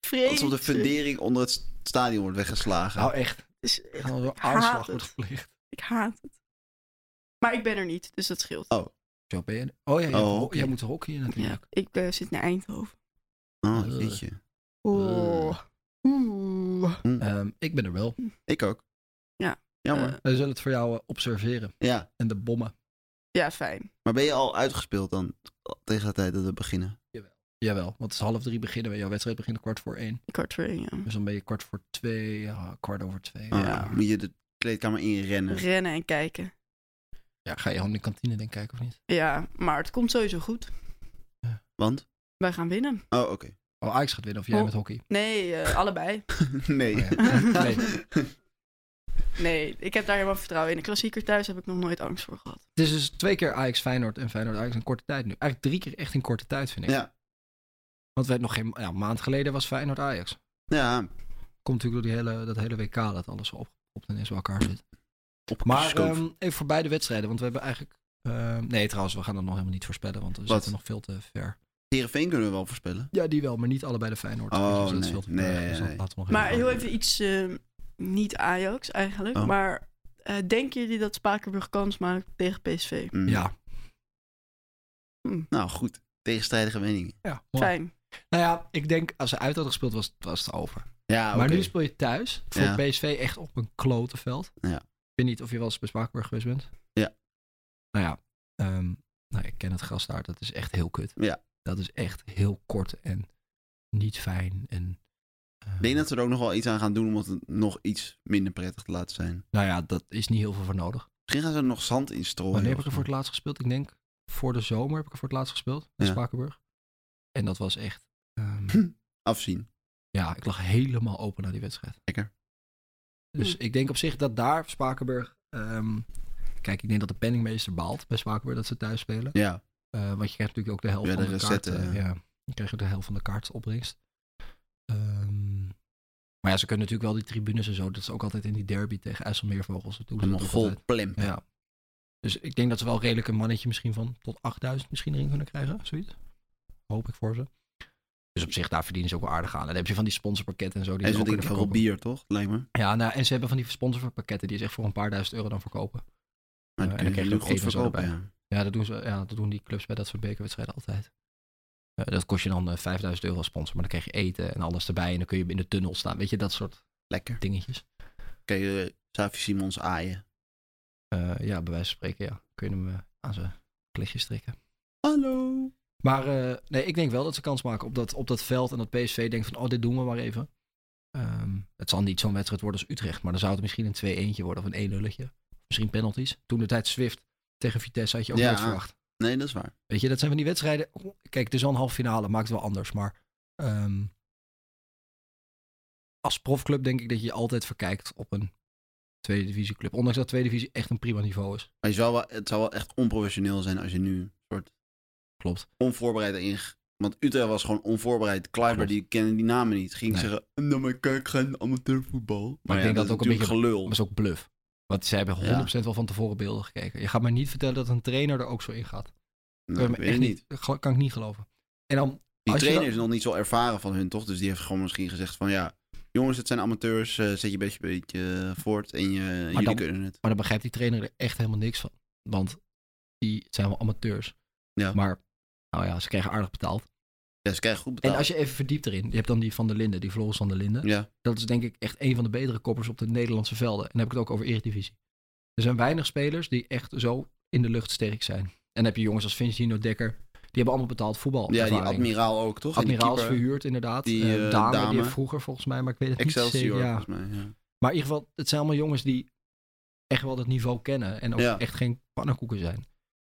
S2: Vreemd.
S5: Alsof de fundering onder het st- stadion wordt weggeslagen.
S1: Nou echt,
S2: Dus
S1: er
S2: ik,
S1: gaan zo'n
S2: haat
S1: aanslag
S2: het.
S1: wordt gepleegd.
S2: ik haat het. Maar ik ben er niet, dus dat scheelt.
S1: Zo ben je. Oh ja, jij,
S5: Oh,
S1: moet-
S5: hockey.
S1: jij moet hockeyen
S2: Ja,
S1: natuurlijk.
S2: ik eh, zit naar Eindhoven.
S1: Nou,
S5: Oh, jeetje. Hm.
S2: Oh. Oeh.
S1: Ehm, ik ben er wel.
S5: Ik ook.
S2: Ja.
S5: Jammer.
S2: Eh,
S1: We zullen het voor jou eh, observeren.
S5: ja.
S1: En de bommen.
S2: ja, fijn.
S5: Maar ben je al uitgespeeld dan tegen de tijd dat we beginnen?
S1: Jawel, want het is half drie beginnen. we. Jouw wedstrijd begint kwart voor één.
S2: Kwart voor één, ja.
S1: Dus dan ben je kwart voor twee, ja, kwart over twee.
S5: Oh,
S1: Ja.
S5: Moet je de kleedkamer inrennen?
S2: Rennen en kijken.
S1: Ja, ga je gewoon in de kantine denk ik kijken of niet?
S2: Ja, maar het komt sowieso goed.
S5: Want?
S2: Wij gaan winnen.
S5: Oh, oké. *laughs*
S1: Oh, Ajax gaat winnen of jij
S2: Oh.
S1: met hockey.
S2: Nee, eh, allebei.
S5: nee.
S1: Oh ja. *laughs* Nee.
S2: Nee, ik heb daar helemaal vertrouwen in. De klassieker thuis heb ik nog nooit angst voor gehad.
S1: Het is dus twee keer Ajax Feyenoord en Feyenoord Ajax in korte tijd nu. Eigenlijk drie keer echt in korte tijd vind ik.
S5: Ja.
S1: Want we hebben nog geen ja, een maand geleden was Feyenoord Ajax.
S5: ja,
S1: Komt natuurlijk door die hele, dat hele WK dat alles zo opgepropt en is bij elkaar zit.
S5: op
S1: Maar
S5: schoof.
S1: ehm, even voor beide wedstrijden, want we hebben eigenlijk. ehm, nee, trouwens, we gaan dat nog helemaal niet voorspellen, want we
S5: Wat?
S1: zitten nog veel te ver.
S5: Heerenveen kunnen we wel voorspellen.
S1: Ja, die wel, maar niet allebei de Feyenoord.
S5: Oh,
S1: dat
S5: nee,
S1: veel te
S5: nee,
S1: ver, dus dat
S5: nee.
S1: laten we nog
S2: Maar
S1: even-
S2: heel even iets eh, niet Ajax eigenlijk.
S5: Oh.
S2: Maar eh, denken jullie dat Spakenburg kans maakt tegen PSV?
S5: Mm.
S1: Ja,
S5: Nou, goed. Tegenstrijdige meningen.
S1: ja mooi.
S2: Fijn.
S1: Nou ja, ik denk als ze uit hadden gespeeld was, was het over.
S5: Ja,
S1: Maar
S5: Ah, oké.
S1: nu speel je thuis voor
S5: Ja.
S1: PSV echt op een klote veld.
S5: Ja.
S1: Ik weet niet of je wel eens bij Spakenburg geweest bent.
S5: Ja.
S1: Nou ja, ehm, nou, ik ken het gras daar. Dat is echt heel kut.
S5: Ja.
S1: Dat is echt heel kort en niet fijn. En, ehm,
S5: Ik denk dat ze er ook nog wel iets aan gaan doen om het nog iets minder prettig te laten zijn.
S1: Nou ja, dat is niet heel veel voor nodig.
S5: Misschien gaan ze er nog zand in strooien.
S1: Wanneer heb
S5: of
S1: ik er
S5: zo.
S1: voor het laatst gespeeld? Ik denk voor de zomer heb ik er voor het laatst gespeeld. In
S5: Ja.
S1: Spakenburg. En dat was echt...
S5: *clears throat*
S1: ehm,
S5: Afzien.
S1: Ja, ik lag helemaal open naar die wedstrijd.
S5: Lekker.
S1: Dus ik denk op zich dat daar Spakenburg... ehm, kijk, ik denk dat de penningmeester baalt bij Spakenburg dat ze thuis spelen.
S5: Ja.
S1: Eh, want je krijgt natuurlijk ook de helft
S5: Ja,
S1: van
S5: de
S1: de,
S5: recetten,
S1: kaart. eh,
S5: ja.
S1: ja. je krijgt ook de helft van de kaartopbrengst. Ehm, maar ja, ze kunnen natuurlijk wel die tribunes en zo. Dat is ook altijd in die derby tegen IJsselmeervogels. Dat doen ze
S5: En nog
S1: ook
S5: vol
S1: altijd.
S5: plemp.
S1: Ja. Dus ik denk dat ze wel redelijk een mannetje misschien van tot 8000 misschien erin kunnen krijgen. Zoiets. Hoop ik voor ze. Dus op zich, daar verdienen ze ook wel aardig aan. En dan heb je van die sponsorpakketten en zo. Die ze
S5: En zo
S1: ook
S5: denk ik van
S1: kunnen
S5: wel
S1: verkopen.
S5: bier, toch? Lijkt me.
S1: Ja, nou, en ze hebben van die sponsorpakketten die ze echt voor een paar duizend euro dan verkopen.
S5: Maar
S1: Ja, en dan
S5: die kun je
S1: krijg je
S5: nu
S1: ook
S5: goed
S1: even zo
S5: verkopen.
S1: erbij.
S5: ja.
S1: Ja, dat doen, ze, ja, dat doen die clubs bij dat soort bekerwedstrijden altijd. Eh, dat kost je dan eh, 5000 euro als sponsor. Maar dan krijg je eten en alles erbij. En dan kun je in de tunnel staan. Weet je, dat soort
S5: Lekker.
S1: dingetjes.
S5: Kijk, je Safi Simons aaien.
S1: Eh, ja, bij wijze van spreken, ja. Kun je hem eh, aan zijn klichtje strikken.
S5: Hallo.
S1: Maar eh, nee, ik denk wel dat ze kans maken op dat, op dat veld. En dat PSV denkt van, oh, dit doen we maar even. Ehm, het zal niet zo'n wedstrijd worden als Utrecht. Maar dan zou het misschien een 2 eentje worden of een 1 lulletje. Misschien penalties. Toen de tijd Swift tegen Vitesse had je ook
S5: Ja.
S1: nooit verwacht.
S5: Nee, dat is waar.
S1: Weet je, dat zijn van die wedstrijden. Kijk, het is al een halve finale. Maakt het wel anders. Maar ehm, als profclub denk ik dat je je altijd verkijkt op een tweede divisie club. Ondanks dat tweede divisie echt een prima niveau is.
S5: Maar je zou wel, het zou wel echt onprofessioneel zijn als je nu een soort
S1: Klopt.
S5: onvoorbereid in. Want Utrecht was gewoon onvoorbereid. Kleiber,
S1: Klopt.
S5: die kennen die namen niet. Ging
S1: Nee.
S5: zeggen, nou maar kijk, geen amateurvoetbal. Maar,
S1: ik denk dat het ook een
S5: natuurlijk gelul.
S1: Maar het is ook bluff. Want ze hebben 100% wel van tevoren beelden gekeken. Je gaat mij niet vertellen dat een trainer er ook zo in gaat.
S5: Nou,
S1: kan, ik
S5: ik
S1: me
S5: weet het
S1: echt
S5: niet.
S1: niet, gel- kan ik niet geloven. En dan,
S5: Die
S1: Als je
S5: trainer
S1: dan-
S5: is nog niet zo ervaren van hun, toch? Dus die heeft gewoon misschien gezegd van, ja, jongens, het zijn amateurs. eh, zet je best een beetje eh, voort en je, jullie
S1: dan-
S5: kunnen het.
S1: maar dan begrijpt die trainer er echt helemaal niks van. Want die zijn wel amateurs.
S5: Ja.
S1: Maar nou ja, ze krijgen aardig betaald.
S5: Ja, ze krijgen goed betaald.
S1: En als je even verdiept erin, je hebt dan die van der Linden, die Floris van der Linden.
S5: Ja,
S1: Dat is denk ik echt een van de betere koppers op de Nederlandse velden. En dan heb ik het ook over Eredivisie. Er zijn weinig spelers die echt zo in de lucht sterk zijn. En dan heb je jongens als Vincino Dekker. Die hebben allemaal betaald voetbal.
S5: ja die
S1: ervaring.
S5: admiraal ook, toch? En die
S1: Admiraal is
S5: keeper,
S1: verhuurd inderdaad.
S5: Die,
S1: Die,
S5: eh,
S1: dame,
S5: dame.
S1: die heeft vroeger volgens mij, maar ik weet het niet
S5: Excelsior,
S1: zeker. Ja.
S5: volgens mij. Ja.
S1: Maar in ieder geval, het zijn allemaal jongens die echt wel dat niveau kennen. En ook
S5: Ja.
S1: echt geen pannenkoeken zijn.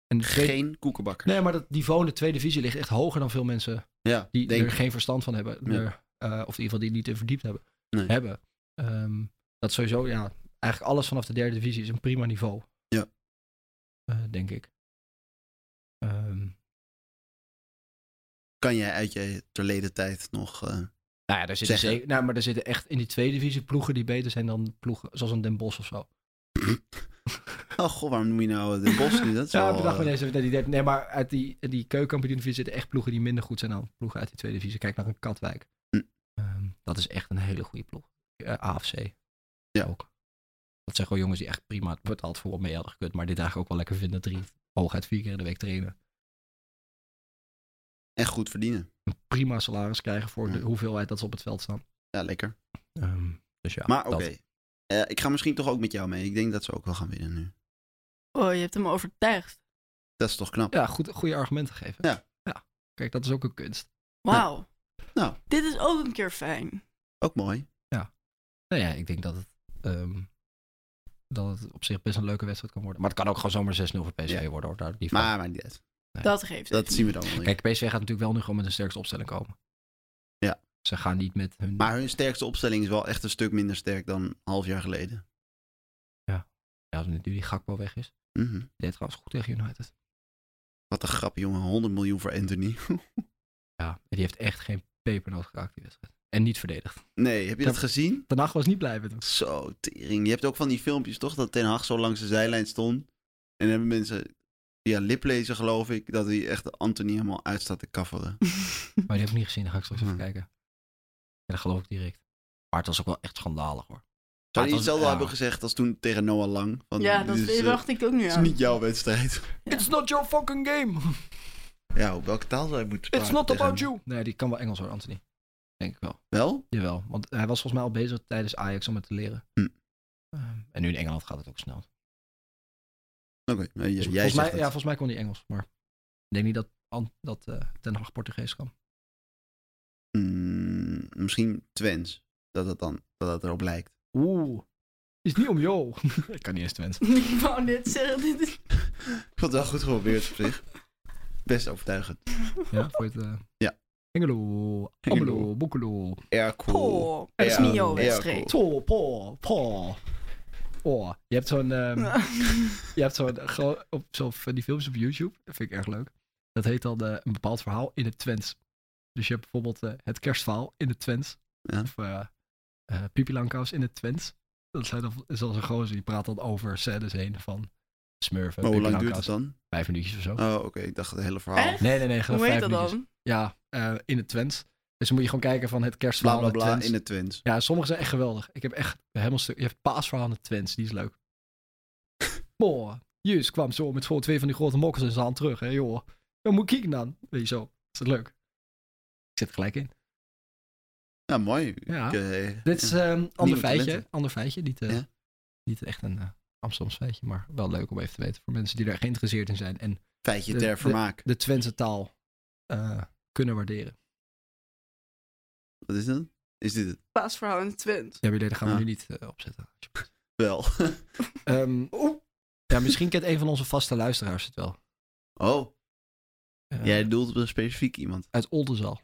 S1: En de tweede-
S5: Geen koekenbakker.
S1: Nee, maar dat niveau in de tweede divisie ligt echt hoger dan veel mensen
S5: Ja,
S1: die
S5: denk
S1: er geen verstand van hebben.
S5: Ja.
S1: er, eh, of in ieder geval die niet in verdiept hebben.
S5: Nee.
S1: hebben. Ehm, dat sowieso, ja, eigenlijk alles vanaf de derde divisie is een prima niveau.
S5: Ja.
S1: Eh, denk ik. Ehm,
S5: Kan jij uit je verleden tijd nog... eh,
S1: nou ja, daar zitten
S5: Zeggen.
S1: zeker, nou, maar er zitten echt in die tweede divisie ploegen die beter zijn dan ploegen zoals een Den Bosch of zo.
S5: Oh god, waarom noem je nou de bos nu? Dat
S1: *laughs*
S5: is
S1: Ja,
S5: wel,
S1: ik bedacht me
S5: eh,
S1: ineens even dat die derde- Nee, maar uit die, die keukenkampioen-divisie zitten echt ploegen die minder goed zijn dan ploegen uit die tweede divisie. Kijk naar een Katwijk.
S5: Hm.
S1: Ehm, dat is echt een hele goede ploeg. Eh, AFC.
S5: Ja.
S1: Ook. Dat zijn gewoon jongens die echt prima betaald voor wat mee hadden gekund. Maar dit eigenlijk ook wel lekker vinden. Drie, hooguit vier keer in de week trainen.
S5: echt eh, goed verdienen.
S1: Prima salaris krijgen voor de
S5: Hm.
S1: hoeveelheid dat ze op het veld staan.
S5: Ja, lekker.
S1: Ehm, dus ja,
S5: maar oké.
S1: dat.
S5: Eh, ik ga misschien toch ook met jou mee. Ik denk dat ze ook wel gaan winnen nu.
S2: Oh, je hebt hem overtuigd.
S5: Dat is toch knap.
S1: Ja, goed, goede argumenten geven.
S5: Ja.
S1: ja. Kijk, dat is ook een kunst.
S2: Wauw.
S5: Nou.
S2: Dit is ook een keer fijn.
S5: Ook mooi.
S1: Nou ja, ik denk dat het, ehm, dat het op zich best een leuke wedstrijd kan worden. Maar het kan ook gewoon zomaar 6-0 voor PSV
S5: Ja.
S1: worden hoor. Daar, die
S5: Maar, maar niet uit.
S2: Dat geeft
S5: dat
S2: even. *laughs*
S5: zien we dan wel. weer.
S1: Kijk, PSV gaat natuurlijk wel nu gewoon met een sterkste opstelling komen.
S5: Ja.
S1: Ze gaan niet met hun...
S5: Maar hun sterkste opstelling is wel echt een stuk minder sterk dan een half jaar geleden.
S1: Ja, als nu die Gakpo weg is.
S5: Mhm.
S1: Die deed trouwens goed tegen United.
S5: Wat een grap, jongen. 100 miljoen voor Anthony. *laughs*
S1: Ja, en die heeft echt geen pepernoot geraakt die wedstrijd. En niet verdedigd.
S5: nee, heb je dat
S1: Ja.
S5: gezien?
S1: Daarna was niet blij met
S5: *laughs*
S1: hem.
S5: Zo, tering. Je hebt ook van die filmpjes, toch? Dat Ten Hag zo langs de zijlijn stond. En hebben mensen via liplezen, geloof ik, dat hij echt Anthony helemaal uit staat te kafferen.
S1: Maar die heb ik niet gezien. Dan ga ik straks even
S5: Hmm.
S1: kijken. Ja, dat geloof ik direct. Maar het was ook wel echt schandalig hoor.
S5: Zou
S1: het
S5: je
S1: was-
S5: hetzelfde
S1: ja.
S5: hebben gezegd als toen tegen Noah Lang? Van,
S2: ja,
S5: dit
S2: dat
S5: is, eh,
S2: dacht ik ook nu
S5: Het is
S2: aan.
S5: niet jouw wedstrijd.
S1: It's not your fucking *laughs* game.
S5: Ja, op welke taal zou je moeten
S1: It's
S5: praten
S1: not
S5: tegen
S1: about
S5: hem?
S1: you. Nee, die kan wel Engels hoor, Anthony. Denk ik wel.
S5: Wel?
S1: Jawel, want hij was volgens mij al bezig tijdens Ajax om het te leren.
S5: Hm.
S1: Ehm, en nu in Engeland gaat het ook snel.
S5: Oké, nou, j-
S1: Dus
S5: jij
S1: volgens, mij,
S5: zegt
S1: ja,
S5: het.
S1: volgens mij kon hij Engels, maar ik denk niet dat, An- dat eh, Ten Hag Portugees kan.
S5: Mm, misschien Twents. Dat het dan dat het erop lijkt.
S1: Oeh, is niet om
S5: *laughs*
S1: jou. ik kan niet eens Twents.
S2: *laughs* Ik wou net zeggen, dit is...
S5: Ik vond het wel goed geprobeerd op zich. Best overtuigend.
S2: *laughs*
S1: Ja, voor het... eh,
S5: Ja.
S1: Engelo, Amelo, Boekelo,
S5: Air cool.
S2: Oh, dat is
S5: Ja,
S2: niet jouw
S5: ja,
S2: wedstrijd.
S1: To, Po, Po. Oh, je hebt zo'n... ehm,
S2: *laughs*
S1: je hebt zo'n... eh, gro- op Zo van die films op YouTube, dat vind ik erg leuk. Dat heet dan eh, een bepaald verhaal in het Twents. Dus je hebt bijvoorbeeld eh, het kerstverhaal in het Twents.
S5: Ja.
S1: Of eh eh Pipi Langkous in het Twents. Dat zijn dan, is dan een gozer, die praat dan over scènes heen van smurfen,
S5: Maar hoe
S1: Pipi
S5: lang duurt het
S1: Langkous.
S5: dan?
S1: Vijf minuutjes of zo.
S5: Oh, oké. Ik dacht het hele verhaal.
S2: Echt?
S1: Nee, nee, nee. gewoon
S2: Hoe heet
S1: vijf
S2: dat
S1: minuutjes.
S2: dan?
S1: Ja, eh, in het Twents. Dus dan moet je gewoon kijken van het
S5: Bla
S1: kerstverhaal
S5: bla
S1: in
S5: bla
S1: het Twents.
S5: in de Twents.
S1: Ja, sommige zijn echt geweldig. Ik heb echt helemaal stuk. Je hebt paasverhaal aan de Twents, die is leuk. *laughs* Boah, Jus kwam zo met voor twee van die grote mokkels in zijn hand terug, hè joh. Dan moet ik kijken dan. Weet je zo, is dat leuk. Ik zit er gelijk in.
S5: Ja, mooi.
S1: Ja.
S5: Ik, eh,
S1: Dit is een ander
S5: Nieuwe
S1: feitje,
S5: talenten.
S1: ander feitje, niet, eh,
S5: Ja.
S1: niet echt een eh Amsterdams feitje, maar wel leuk om even te weten voor mensen die daar geïnteresseerd in zijn en
S5: Feitje
S1: de-
S5: ter
S1: de-
S5: vermaak.
S1: de Twentse taal eh, kunnen waarderen.
S5: Wat is dat? Is dit het?
S2: Paasverhaal in Twent.
S1: Ja, maar die gaan we
S5: Ah.
S1: nu niet eh, opzetten.
S5: Wel. *laughs*
S1: Ehm, ja, misschien kent een van onze vaste luisteraars het wel.
S5: oh,
S1: Eh,
S5: jij doelt op een specifiek iemand.
S1: Uit Oldenzaal.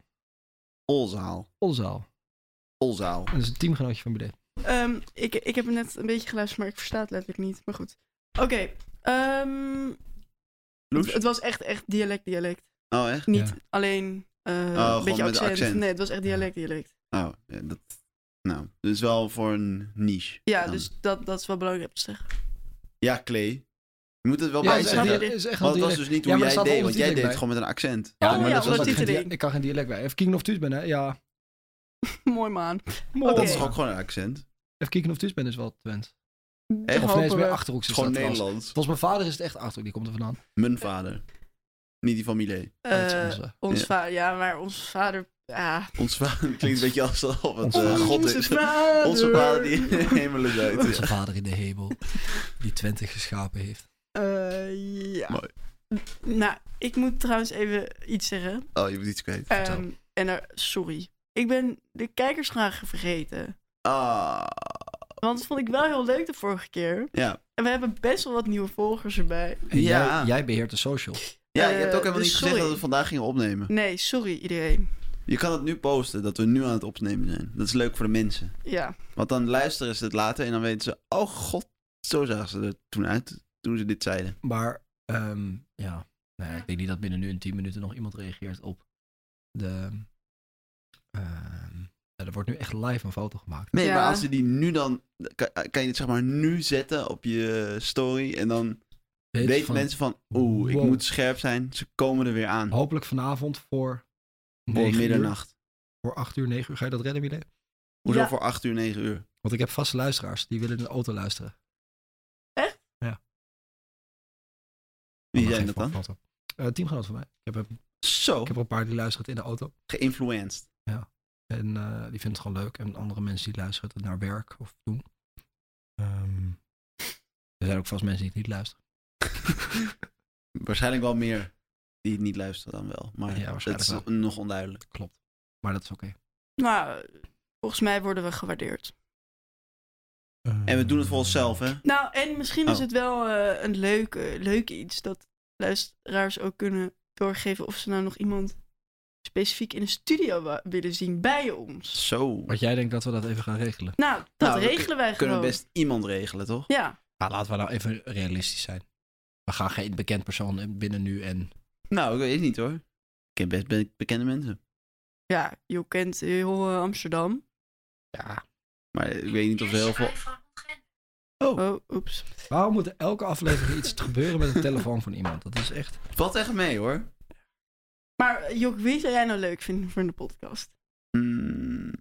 S5: Olzaal.
S1: Oldenzaal.
S5: Olzaal.
S1: Dat is een teamgenootje van BD.
S2: Ehm, ik, ik heb net een beetje geluisterd, maar ik versta het letterlijk niet. Maar goed. Oké. ehm, het,
S5: Loes?
S2: het was echt, echt dialect, dialect.
S5: Oh, echt?
S2: Niet
S1: Ja.
S2: alleen eh, een
S5: Oh, gewoon
S2: beetje
S5: met
S2: accent.
S5: accent.
S2: Nee, het was echt dialect, dialect.
S5: Oh, ja, dat... Nou, dat is wel voor een niche.
S2: Ja,
S5: dan.
S2: dus dat, dat is wel belangrijk om te zeggen. *laughs*
S5: Ja, Clay. Je moet het wel
S1: Ja,
S5: bij
S1: het is echt
S5: zeggen.
S1: een- het is echt
S5: Want
S1: een
S5: dat was
S1: dialect.
S5: dus niet
S1: Ja,
S5: hoe
S1: maar er
S5: jij
S1: staat
S5: deed,
S1: wel
S5: want jij deed het
S1: ondertiteling
S5: gewoon met een accent.
S1: Ja,
S2: Oh,
S1: maar
S2: ja,
S1: dat was
S2: omdat
S1: ook geen
S2: die
S1: dia-
S2: drie-
S1: ik kan geen dialect bij. Even kijken of thuis ben, hè? Ja.
S2: Mooi man.
S1: Mooi.
S5: Dat
S2: Oké.
S5: is ook gewoon een accent. Het
S1: Even kijken of thuis ben is wel Twent.
S5: Echt?
S1: Of nee, is
S2: Hopen
S1: meer
S2: we.
S1: Achterhoeks.
S5: is
S1: Is
S5: gewoon
S1: dat trouwens.
S5: Nederlands.
S1: Volgens mijn vader is het echt Achterhoek. Die komt er vandaan.
S5: Mijn vader. Niet die van Millet.
S1: Dat is
S2: Eh,
S1: onze-
S2: ons
S5: Ja.
S2: vader, ja, maar ons vader. Ah.
S5: Ons vader klinkt een beetje alsof het
S1: Onze
S5: eh,
S1: vader.
S5: God is.
S2: vader.
S5: Onze vader die *laughs* hemel is uit.
S1: Onze vader in de hemel. Die Twente geschapen heeft.
S2: Eh, ja.
S5: Mooi.
S2: Nou, ik moet trouwens even iets zeggen.
S5: Oh, je moet iets kwijt.
S1: Vertel.
S2: Ehm, en er, sorry. Ik ben de kijkersvragen vergeten.
S5: Ah,
S2: Want dat vond ik wel heel leuk de vorige keer.
S5: ja.
S2: En we hebben best wel wat nieuwe volgers erbij.
S1: En
S5: Ja.
S1: jij, jij beheert de social.
S5: Ja, je
S2: Eh,
S5: hebt ook helemaal
S2: dus
S5: niet gezegd
S2: sorry.
S5: dat we het vandaag gingen opnemen.
S2: Nee, sorry iedereen.
S5: Je kan het nu posten, dat we nu aan het opnemen zijn. Dat is leuk voor de mensen.
S2: Ja,
S5: Want dan luisteren ze het later en dan weten ze... Oh god, zo zagen ze er toen uit, toen ze dit zeiden.
S1: Maar ehm, ja, nou ja, ik denk niet dat binnen nu en 10 minuten nog iemand reageert op de. ehm, ja, er wordt nu echt live een foto gemaakt.
S5: Nee,
S2: Ja.
S5: maar als je die nu dan... Kan, kan je het zeg maar nu zetten op je story en dan
S1: Weet
S5: weten
S1: van-
S5: mensen van... Oeh, ik
S1: Wow.
S5: moet scherp zijn. Ze komen er weer aan.
S1: Hopelijk vanavond voor.
S5: Hm. Voor
S1: 9 Uur,
S5: middernacht.
S1: voor 8 uur, 9 uur. Ga je dat redden, Milee?
S5: Hoezo
S2: Ja.
S5: voor 8 uur, 9 uur?
S1: Want ik heb vaste luisteraars die willen in de auto luisteren.
S5: Wie
S1: Oh, Maar
S5: zijn
S1: geen
S5: dat dan?
S1: foto. Eh, een teamgenoot van mij. Ik heb, er-
S5: Zo,
S1: ik heb er een paar die luisteren het in de auto.
S5: geïnfluenced.
S1: En eh, die vinden het gewoon leuk. En andere mensen die luisteren het naar werk of doen. Ehm, er zijn ook vast mensen die het niet luisteren.
S5: *laughs* Waarschijnlijk wel meer die het niet luisteren dan wel. Maar
S1: Ja, waarschijnlijk
S5: het is
S1: wel.
S5: nog onduidelijk.
S1: Klopt. Maar dat is oké.
S2: nou, volgens mij worden we gewaardeerd.
S5: En we doen het voor onszelf, hè?
S2: Nou, en misschien is
S5: Oh.
S2: het wel eh, een leuk, eh, leuk iets dat luisteraars ook kunnen doorgeven of ze nou nog iemand specifiek in de studio wa- willen zien bij ons.
S5: Zo.
S1: Want Ehm, jij denkt dat we dat even gaan regelen?
S2: Nou, dat
S5: Nou, we
S2: regelen wij
S5: Kunnen
S2: gewoon.
S5: we best iemand regelen, toch?
S2: Ja,
S1: Nou, laten we nou even realistisch zijn. We gaan geen bekend persoon binnen nu en...
S5: Nou, ik weet het niet hoor. Ik ken best be- bekende mensen.
S2: ja, je kent heel eh, Amsterdam.
S1: Ja.
S5: Maar ik weet niet of er heel veel...
S2: Oh, oeps.
S1: Waarom moet er elke aflevering iets gebeuren met een telefoon van iemand? Dat is echt...
S5: Valt echt mee hoor.
S2: Maar eh, Jok, wie zou jij nou leuk vinden voor in de podcast?
S5: Mm,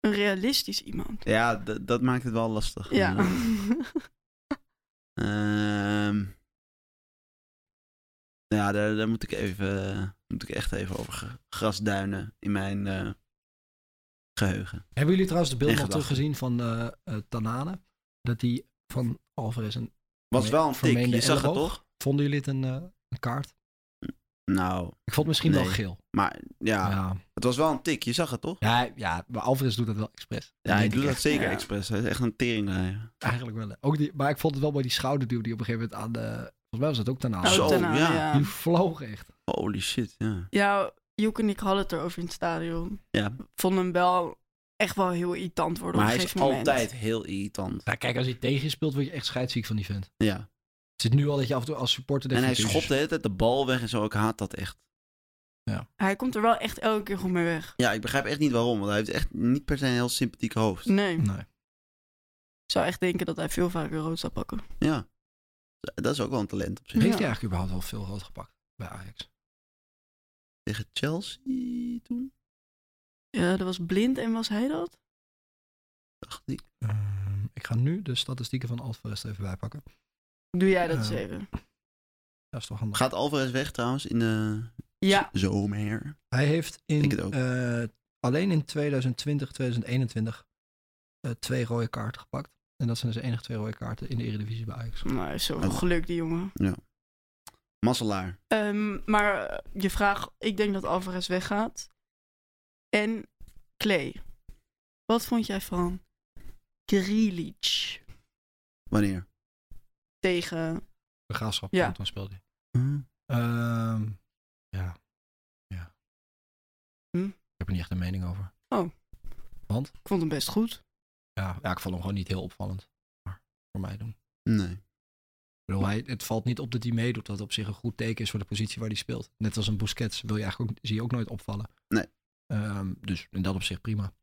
S2: Een realistisch iemand.
S5: ja, d- dat maakt het wel lastig. Mm.
S2: Ja. *laughs*
S5: Ehm, ja, daar, daar moet ik even... Moet ik echt even over ge- grasduinen in mijn eh, geheugen.
S1: Hebben jullie trouwens de beeld
S5: In
S1: nog
S5: gedachten.
S1: teruggezien van eh eh, Tanane? Dat die van Alvarez en...
S5: Was
S1: Nee,
S5: wel een tik,
S1: vermeende
S5: je zag het
S1: elleboog.
S5: toch?
S1: Vonden jullie het een, eh, een kaart?
S5: Nou,
S1: Ik vond het misschien wel
S5: Nee.
S1: geel.
S5: maar ja,
S1: Ja.
S5: het was wel een tik, je zag het toch?
S1: Ja, ja, maar Alvarez doet dat wel expres.
S5: Ja, ik
S1: denk
S5: doe dat
S1: echt.
S5: zeker
S2: Ja.
S5: expres. Hij is echt een tering.
S1: Eigenlijk wel. Ook die, maar ik vond het wel bij die schouderduw die op een gegeven moment aan de... Volgens mij was dat ook Tanane.
S2: Oh,
S5: Zo,
S2: daarna,
S5: ja.
S1: Die vloog echt.
S5: Holy shit, ja.
S2: Ja, Joek en ik hadden het erover in het stadion.
S5: Ja.
S2: Vonden hem wel echt wel heel irritant worden
S5: Maar
S2: op
S5: hij
S2: een
S5: is
S2: gegeven moment.
S5: altijd heel irritant.
S1: Nou, kijk, als hij tegen speelt, word je echt scheidsziek van die vent.
S5: Ja.
S1: Het zit nu al dat je af en toe als supporter
S5: En
S1: denkt...
S5: hij
S1: van,
S5: schopt de hele tijd de bal weg en zo. Ik haat dat echt.
S2: Hij komt er wel echt elke keer goed mee weg.
S5: Ja, ik begrijp echt niet waarom. Want hij heeft echt niet per se een heel sympathiek hoofd.
S2: Nee,
S1: "Jezus." Nee.
S2: ik zou echt denken dat hij veel vaker rood zou pakken.
S5: Ja. Dat is ook wel een talent op zich.
S1: Heeft hij
S2: Ja.
S1: eigenlijk überhaupt wel veel rood gepakt bij Ajax?
S5: Tegen Chelsea toen,
S2: Ja, dat was blind en was hij dat?
S5: dacht ik.
S1: Ehm, ik ga nu de statistieken van Alvarez even bijpakken.
S2: Doe jij dat
S1: Ja.
S2: eens even?
S1: Dat is toch handig.
S5: Gaat Alvarez weg trouwens in de
S2: Ja,
S5: zomer?
S1: Hij heeft
S5: Denk
S1: in,
S5: het ook.
S1: eh, alleen in 2020, 2021 eh, twee rode kaarten gepakt. En dat zijn dus de enige twee rode kaarten in de Eredivisie bij Ajax.
S2: nou, hij is zoveel
S5: Oh.
S2: geluk, die jongen.
S5: Masselaar.
S2: Ehm, maar eh, je vraag, ik denk dat Alvarez weggaat. En Clay, wat vond jij van Grealish
S5: Wanneer?
S2: tegen...
S1: De graafschap,
S2: Ja.
S1: want toen speelde hij. Ehm, ja. ja.
S2: Hm?
S1: Ik heb er niet echt een mening over.
S2: Ik vond hem best goed.
S1: Ja, ja ik vond hem gewoon niet heel opvallend. Maar voor mij doen.
S5: Nee.
S1: Ik bedoel, hij, het valt niet op dat hij meedoet, wat op zich een goed teken is voor de positie waar hij speelt. Net als een Busquets wil je eigenlijk ook, zie je ook nooit opvallen.
S5: Nee.
S1: Ehm, dus in dat op zich prima.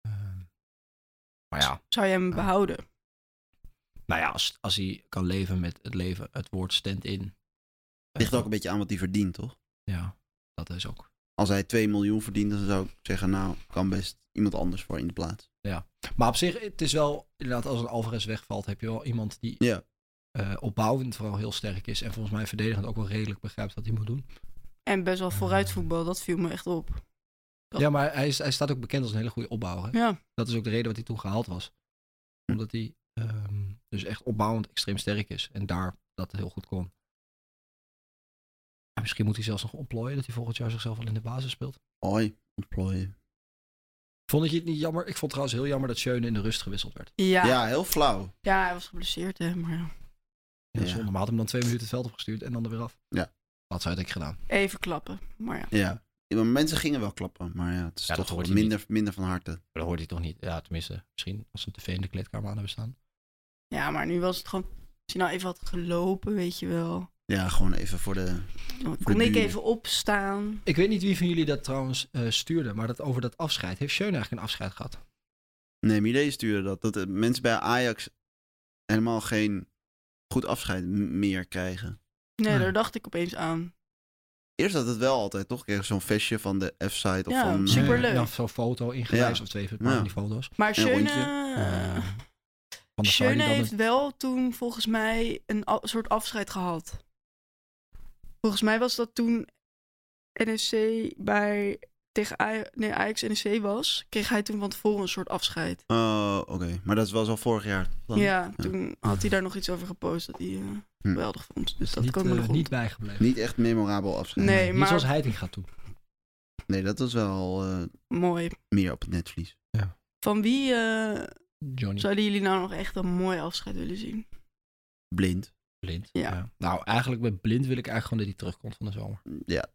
S1: Ehm, maar ja,
S2: Zou jij hem
S1: Ja.
S2: behouden?
S1: nou ja, als, als hij kan leven met het leven, het woord stand-in.
S5: Ligt ook een beetje aan wat hij verdient, toch?
S1: Ja, dat is ook.
S5: Als hij 2 miljoen verdient, dan zou ik zeggen, nou, kan best iemand anders voor in de plaats.
S1: Maar op zich, het is wel, inderdaad, als een Alvarez wegvalt, heb je wel iemand die
S5: Ja.
S1: eh, opbouwend vooral heel sterk is. En volgens mij verdedigend ook wel redelijk begrijpt wat hij moet doen.
S2: En best wel vooruitvoetbal, dat viel me echt op. Dat-
S1: Ja, maar hij, is, hij staat ook bekend als een hele goede opbouwer. hè?
S2: Ja,
S1: Dat is ook de reden wat hij toen gehaald was. Omdat hij ehm, dus echt opbouwend extreem sterk is. En daar dat heel goed kon. Maar misschien moet hij zelfs nog ontplooien dat hij volgend jaar zichzelf al in de basis speelt.
S5: Hoi, ontplooien.
S1: Vond je het niet jammer? Ik vond trouwens heel jammer dat Schöne in de rust gewisseld werd.
S2: ja.
S5: Ja,
S2: ja.
S5: heel flauw.
S2: hij was geblesseerd, hè. Maar ja.
S1: Ja,
S5: Ja.
S1: zonde. Maar had hem dan twee minuten het veld opgestuurd en dan er weer af.
S5: Ja.
S1: Dat zou ik gedaan.
S2: even klappen. Maar ja.
S5: Ja. Ja, maar Mensen gingen wel klappen, maar ja, het is
S1: Ja, dat
S5: toch
S1: hoort
S5: wel
S1: je
S5: minder, minder van harte.
S1: Maar dat hoorde hij toch niet. Ja, tenminste, misschien als ze een tv in de kleedkamer aan hebben staan.
S2: ja, maar nu was het gewoon... Als hij nou even had gelopen, weet je wel.
S5: Ja, gewoon even voor de...
S2: Dan
S5: Voor
S2: kon
S5: de
S2: ik
S5: buren.
S2: even opstaan.
S1: Ik weet niet wie van jullie dat trouwens eh, stuurde, maar dat over dat afscheid. Heeft Schöne eigenlijk een afscheid gehad?
S5: Nee, mijn idee sturen dat. Dat de mensen bij Ajax helemaal geen goed afscheid m- meer krijgen.
S2: Nee,
S1: Nee.
S2: daar dacht ik opeens aan.
S5: Eerst had het wel altijd, toch? Kreeg zo'n vestje van de F-site of
S2: Ja,
S5: van...
S2: super.
S5: eh,
S2: Superleuk.
S1: Ja, Zo'n foto ingelijst
S5: Ja.
S1: of twee van
S5: Ja.
S1: die foto's.
S2: Maar
S5: Een
S2: Schöne...
S5: rondje.
S1: Eh, van de Sarri
S2: Schöne
S1: dan
S2: heeft
S1: een-
S2: wel toen volgens mij een a- soort afscheid gehad. Volgens mij was dat toen NSC bij tegen Aj- nee, Ajax NSC was, kreeg hij toen van tevoren een soort afscheid.
S5: Oh, oké. Maar dat was al vorig jaar. dan?
S2: ja, toen had hij daar nog iets over gepost dat hij eh,
S5: Hm.
S2: geweldig vond. Dus dat
S1: niet,
S2: kan ik me
S1: eh,
S2: nog
S1: niet
S2: niet.
S1: bijgebleven.
S5: Niet echt memorabel afscheid.
S2: Nee,
S1: Niet
S2: maar-
S1: zoals Heiting gaat doen.
S5: Nee, dat was wel eh,
S2: Mooi.
S5: meer op het netvlies.
S2: Van wie eh,
S1: Johnny
S2: zouden jullie nou nog echt een mooi afscheid willen zien?
S5: Blind.
S1: Blind.
S2: Ja.
S1: Nou, eigenlijk met Blind wil ik eigenlijk gewoon dat hij terugkomt van de zomer.
S5: Ja.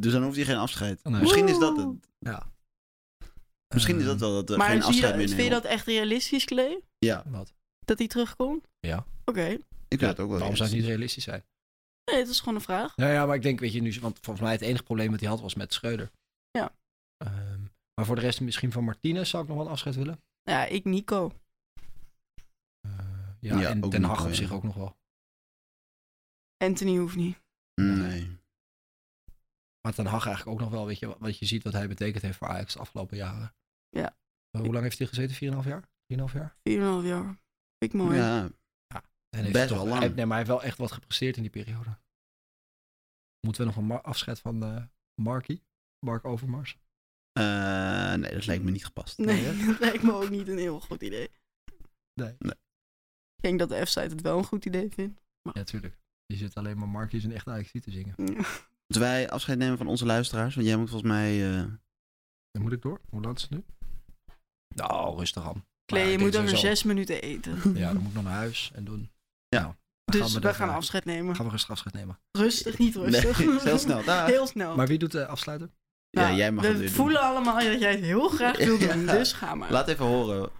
S5: Dus dan hoeft hij geen afscheid.
S1: Oh, Nee. Eh,
S5: Misschien is dat
S2: Woe!
S5: het.
S1: Ja.
S5: Misschien is dat wel dat er
S2: maar
S5: geen
S2: zie je,
S5: afscheid
S2: dat-
S5: meer
S2: vind je
S5: nemen.
S2: dat echt realistisch, Klee?
S5: Ja,
S1: Wat?
S2: Dat hij terugkomt?
S1: Ja.
S2: Oké.
S5: ik vind
S1: Ja,
S5: dat ook wel.
S1: Waarom zou het niet realistisch
S5: realistisch.
S1: zijn?
S2: Nee, het is gewoon een vraag.
S1: Nou ja, maar ik denk, weet je, nu, want volgens mij het enige probleem dat hij had was met Schreuder.
S2: Ja.
S1: Ehm, maar voor de rest misschien van Martinez zou ik nog wel een afscheid willen.
S2: Ja, ik Nico.
S1: Eh, ja,
S5: Ja,
S1: en
S5: ook
S1: Den
S5: nog
S1: Haag
S5: wel,
S1: op
S5: ja.
S1: zich ook nog wel.
S2: Anthony hoeft niet.
S5: Nee.
S1: Maar Ten Hag eigenlijk ook nog wel, weet je, wat- wat je ziet wat hij betekend heeft voor Ajax de afgelopen jaren.
S2: Ja.
S1: Eh, hoe lang heeft hij gezeten? 4,5 jaar? 4,5 jaar?
S2: 4,5 jaar. Vind ik mooi.
S5: Ja,
S1: En heeft
S5: Best
S1: toch-
S5: wel lang.
S1: hij- Nee, maar hij heeft wel echt wat gepresteerd in die periode. Moeten we nog een ma- afscheid van eh Marky? Mark Overmars?
S5: Eh, nee, dat lijkt me niet gepast.
S2: Nee,
S1: Nee,
S2: dat *laughs* lijkt me ook niet een heel goed idee.
S1: Nee.
S5: Nee.
S2: Ik denk dat de F-site het wel een goed idee vindt.
S1: Ja, tuurlijk. Je zit alleen maar Marky is een echte Ajax te zingen.
S5: Moeten wij afscheid nemen van onze luisteraars? Want jij moet volgens mij... eh,
S1: Dan moet ik door. Hoe laat is het nu? Nou, rustig aan. Maar
S2: Klee,
S1: ja,
S2: je
S1: ik
S2: moet
S1: denk
S2: over
S1: sowieso-
S2: zes minuten
S5: *laughs*
S2: eten.
S1: Ja, dan moet ik nog naar huis en doen.
S5: Ja.
S1: Nou, dan
S2: Dus we,
S1: dat,
S2: gaan
S1: eh,
S2: afscheid nemen.
S1: Gaan we rustig afscheid nemen.
S2: Rustig, niet rustig. *laughs*
S5: Nee, *laughs* heel snel. Dag.
S2: Heel snel.
S1: Maar wie doet de afsluiter?
S5: ja,
S2: Nou,
S5: jij mag het
S2: we
S5: weer doen.
S2: voelen allemaal dat jij het heel graag wil doen,
S5: *laughs* Ja.
S2: dus ga maar.
S5: Laat even horen.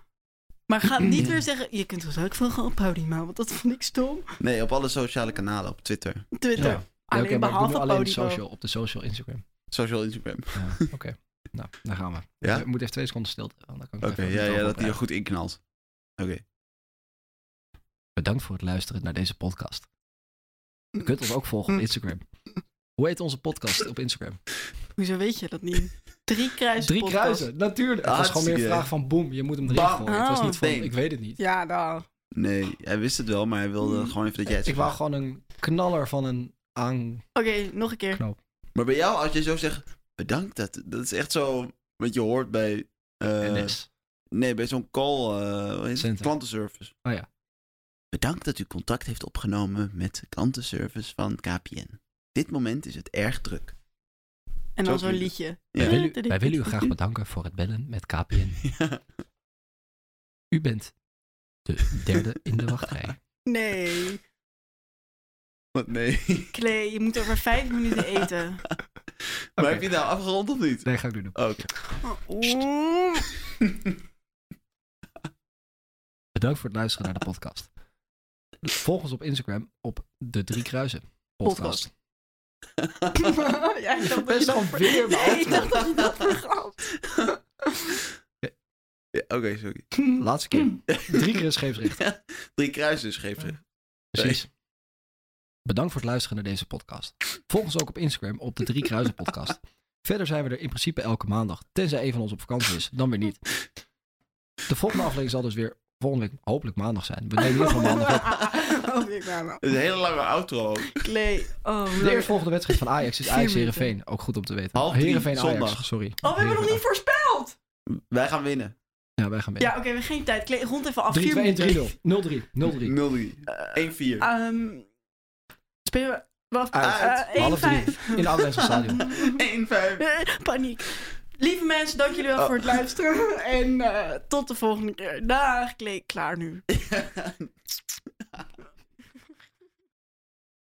S2: Maar
S1: *clears throat*
S2: ga niet weer zeggen, je kunt het ook van gaan ophouden, maar want dat vond ik stom.
S5: Nee, op alle sociale kanalen. Op Twitter,
S2: Twitter,
S1: Ja.
S2: alleen
S1: Oké, maar ik doe nu
S2: behalve
S1: alleen
S2: Podimo.
S1: social, op de social Instagram.
S5: social Instagram.
S1: Ja, Oké, nou, daar gaan we.
S5: Ja?
S1: Ik moet even twee seconden stilte. want dan kan ik
S5: Oké,
S1: even
S5: ja,
S1: de
S5: ja,
S1: microfoon
S5: dat hij er
S1: krijgen.
S5: goed in knalt. Oké.
S1: Bedankt voor het luisteren naar deze podcast. Je kunt ons ook volgen op Instagram. Hoe heet onze podcast op Instagram?
S2: Hoezo weet je dat
S1: *laughs*
S2: niet? Drie kruisen
S1: Drie
S2: podcast.
S1: kruisen, natuurlijk. Het was gewoon meer
S5: Hartstikke
S1: een vraag van boem, Ah, je moet hem erin
S5: Bam.
S1: gooien. Het was
S2: Oh.
S1: niet van,
S5: Nee.
S1: ik weet het niet.
S2: Ja, nou.
S5: Nee, hij wist het wel, maar hij
S2: Mm.
S5: wilde gewoon even dat jij het
S1: Ik wou
S5: zag.
S1: gewoon een knaller van een aanknoop.
S2: Oké, nog een keer.
S1: Eh,
S5: Maar bij jou, als je zo zegt, bedankt, dat, dat is echt zo wat je hoort bij... eh,
S1: NS.
S5: nee, bij zo'n call, eh, hoe heet het?
S1: Center.
S5: klantenservice.
S1: Oh ja.
S5: Bedankt dat u contact heeft opgenomen met de klantenservice van KPN. Dit moment is het erg druk.
S2: En
S5: Zo
S2: dan zo'n
S5: klinkt
S2: liedje.
S5: Ja.
S1: Wij, willen u, wij willen u graag bedanken voor het bellen met KPN.
S5: *laughs* Ja.
S1: U bent de derde in de wachtrij.
S2: Nee.
S5: Wat nee.
S1: *laughs*
S2: Klee, je moet over vijf minuten eten.
S5: *laughs* Maar heb je het nou afgerond of niet?
S1: *laughs*
S5: Oh,
S1: Nee, ga ik nu doen.
S5: Oké. *laughs*
S2: Oh. Oeh.
S1: Bedankt voor het luisteren naar de podcast. Volg ons op Instagram op de Drie Kruisen podcast.
S2: *laughs* ja, ik dacht dat je
S1: Best
S2: dat
S1: wel
S2: ver-
S1: weer
S2: *laughs* Nee, ik
S1: beantwoord.
S2: dacht dat je dat vergat.
S5: Ja, Oké, sorry.
S1: Laatste keer. Drie keer een scheepsrecht.
S5: Drie kruisjes geeft ze.
S1: Precies. Bedankt voor het luisteren naar deze podcast. Volg ons ook op Instagram op de Drie Kruisen
S2: *laughs*
S1: podcast. Verder zijn we er in principe elke maandag. Tenzij een van ons op vakantie is, dan weer niet. De volgende aflevering zal dus weer volgende week hopelijk maandag zijn. We nemen in ieder geval
S2: *laughs*
S1: maandag op.
S2: Oh, ik ben nou.
S5: Het is een hele lange outro. ook.
S2: Klee. Oh,
S1: De
S2: leuk.
S1: eerstvolgende wedstrijd van Ajax is
S2: Vier
S1: Ajax
S2: minuten.
S1: Heerenveen. Ook goed om te weten.
S5: Half drie,
S1: Heerenveen Ajax,
S5: zondag.
S1: sorry.
S2: Oh, we hebben nog niet voorspeld.
S5: Wij gaan winnen.
S1: Ja, wij gaan mee.
S2: Ja, oké, we hebben geen tijd. Klee, rond even af.
S1: 3,
S2: Vier
S1: 2, 1, 3,
S2: minuten.
S1: 0. 0, 3. 0, 3.
S5: 0-3. 1-4.
S2: Ehm, spelen we... Wat?
S1: Uit.
S2: Eh, één,
S1: Half drie.
S2: vijf.
S1: In de Oudewijkse stadion.
S5: 1-5.
S2: Eh, *laughs* Paniek. Lieve mensen, dank jullie wel
S5: Oh.
S2: voor het luisteren. En eh, tot de volgende keer. Dag, Klee. Klaar nu.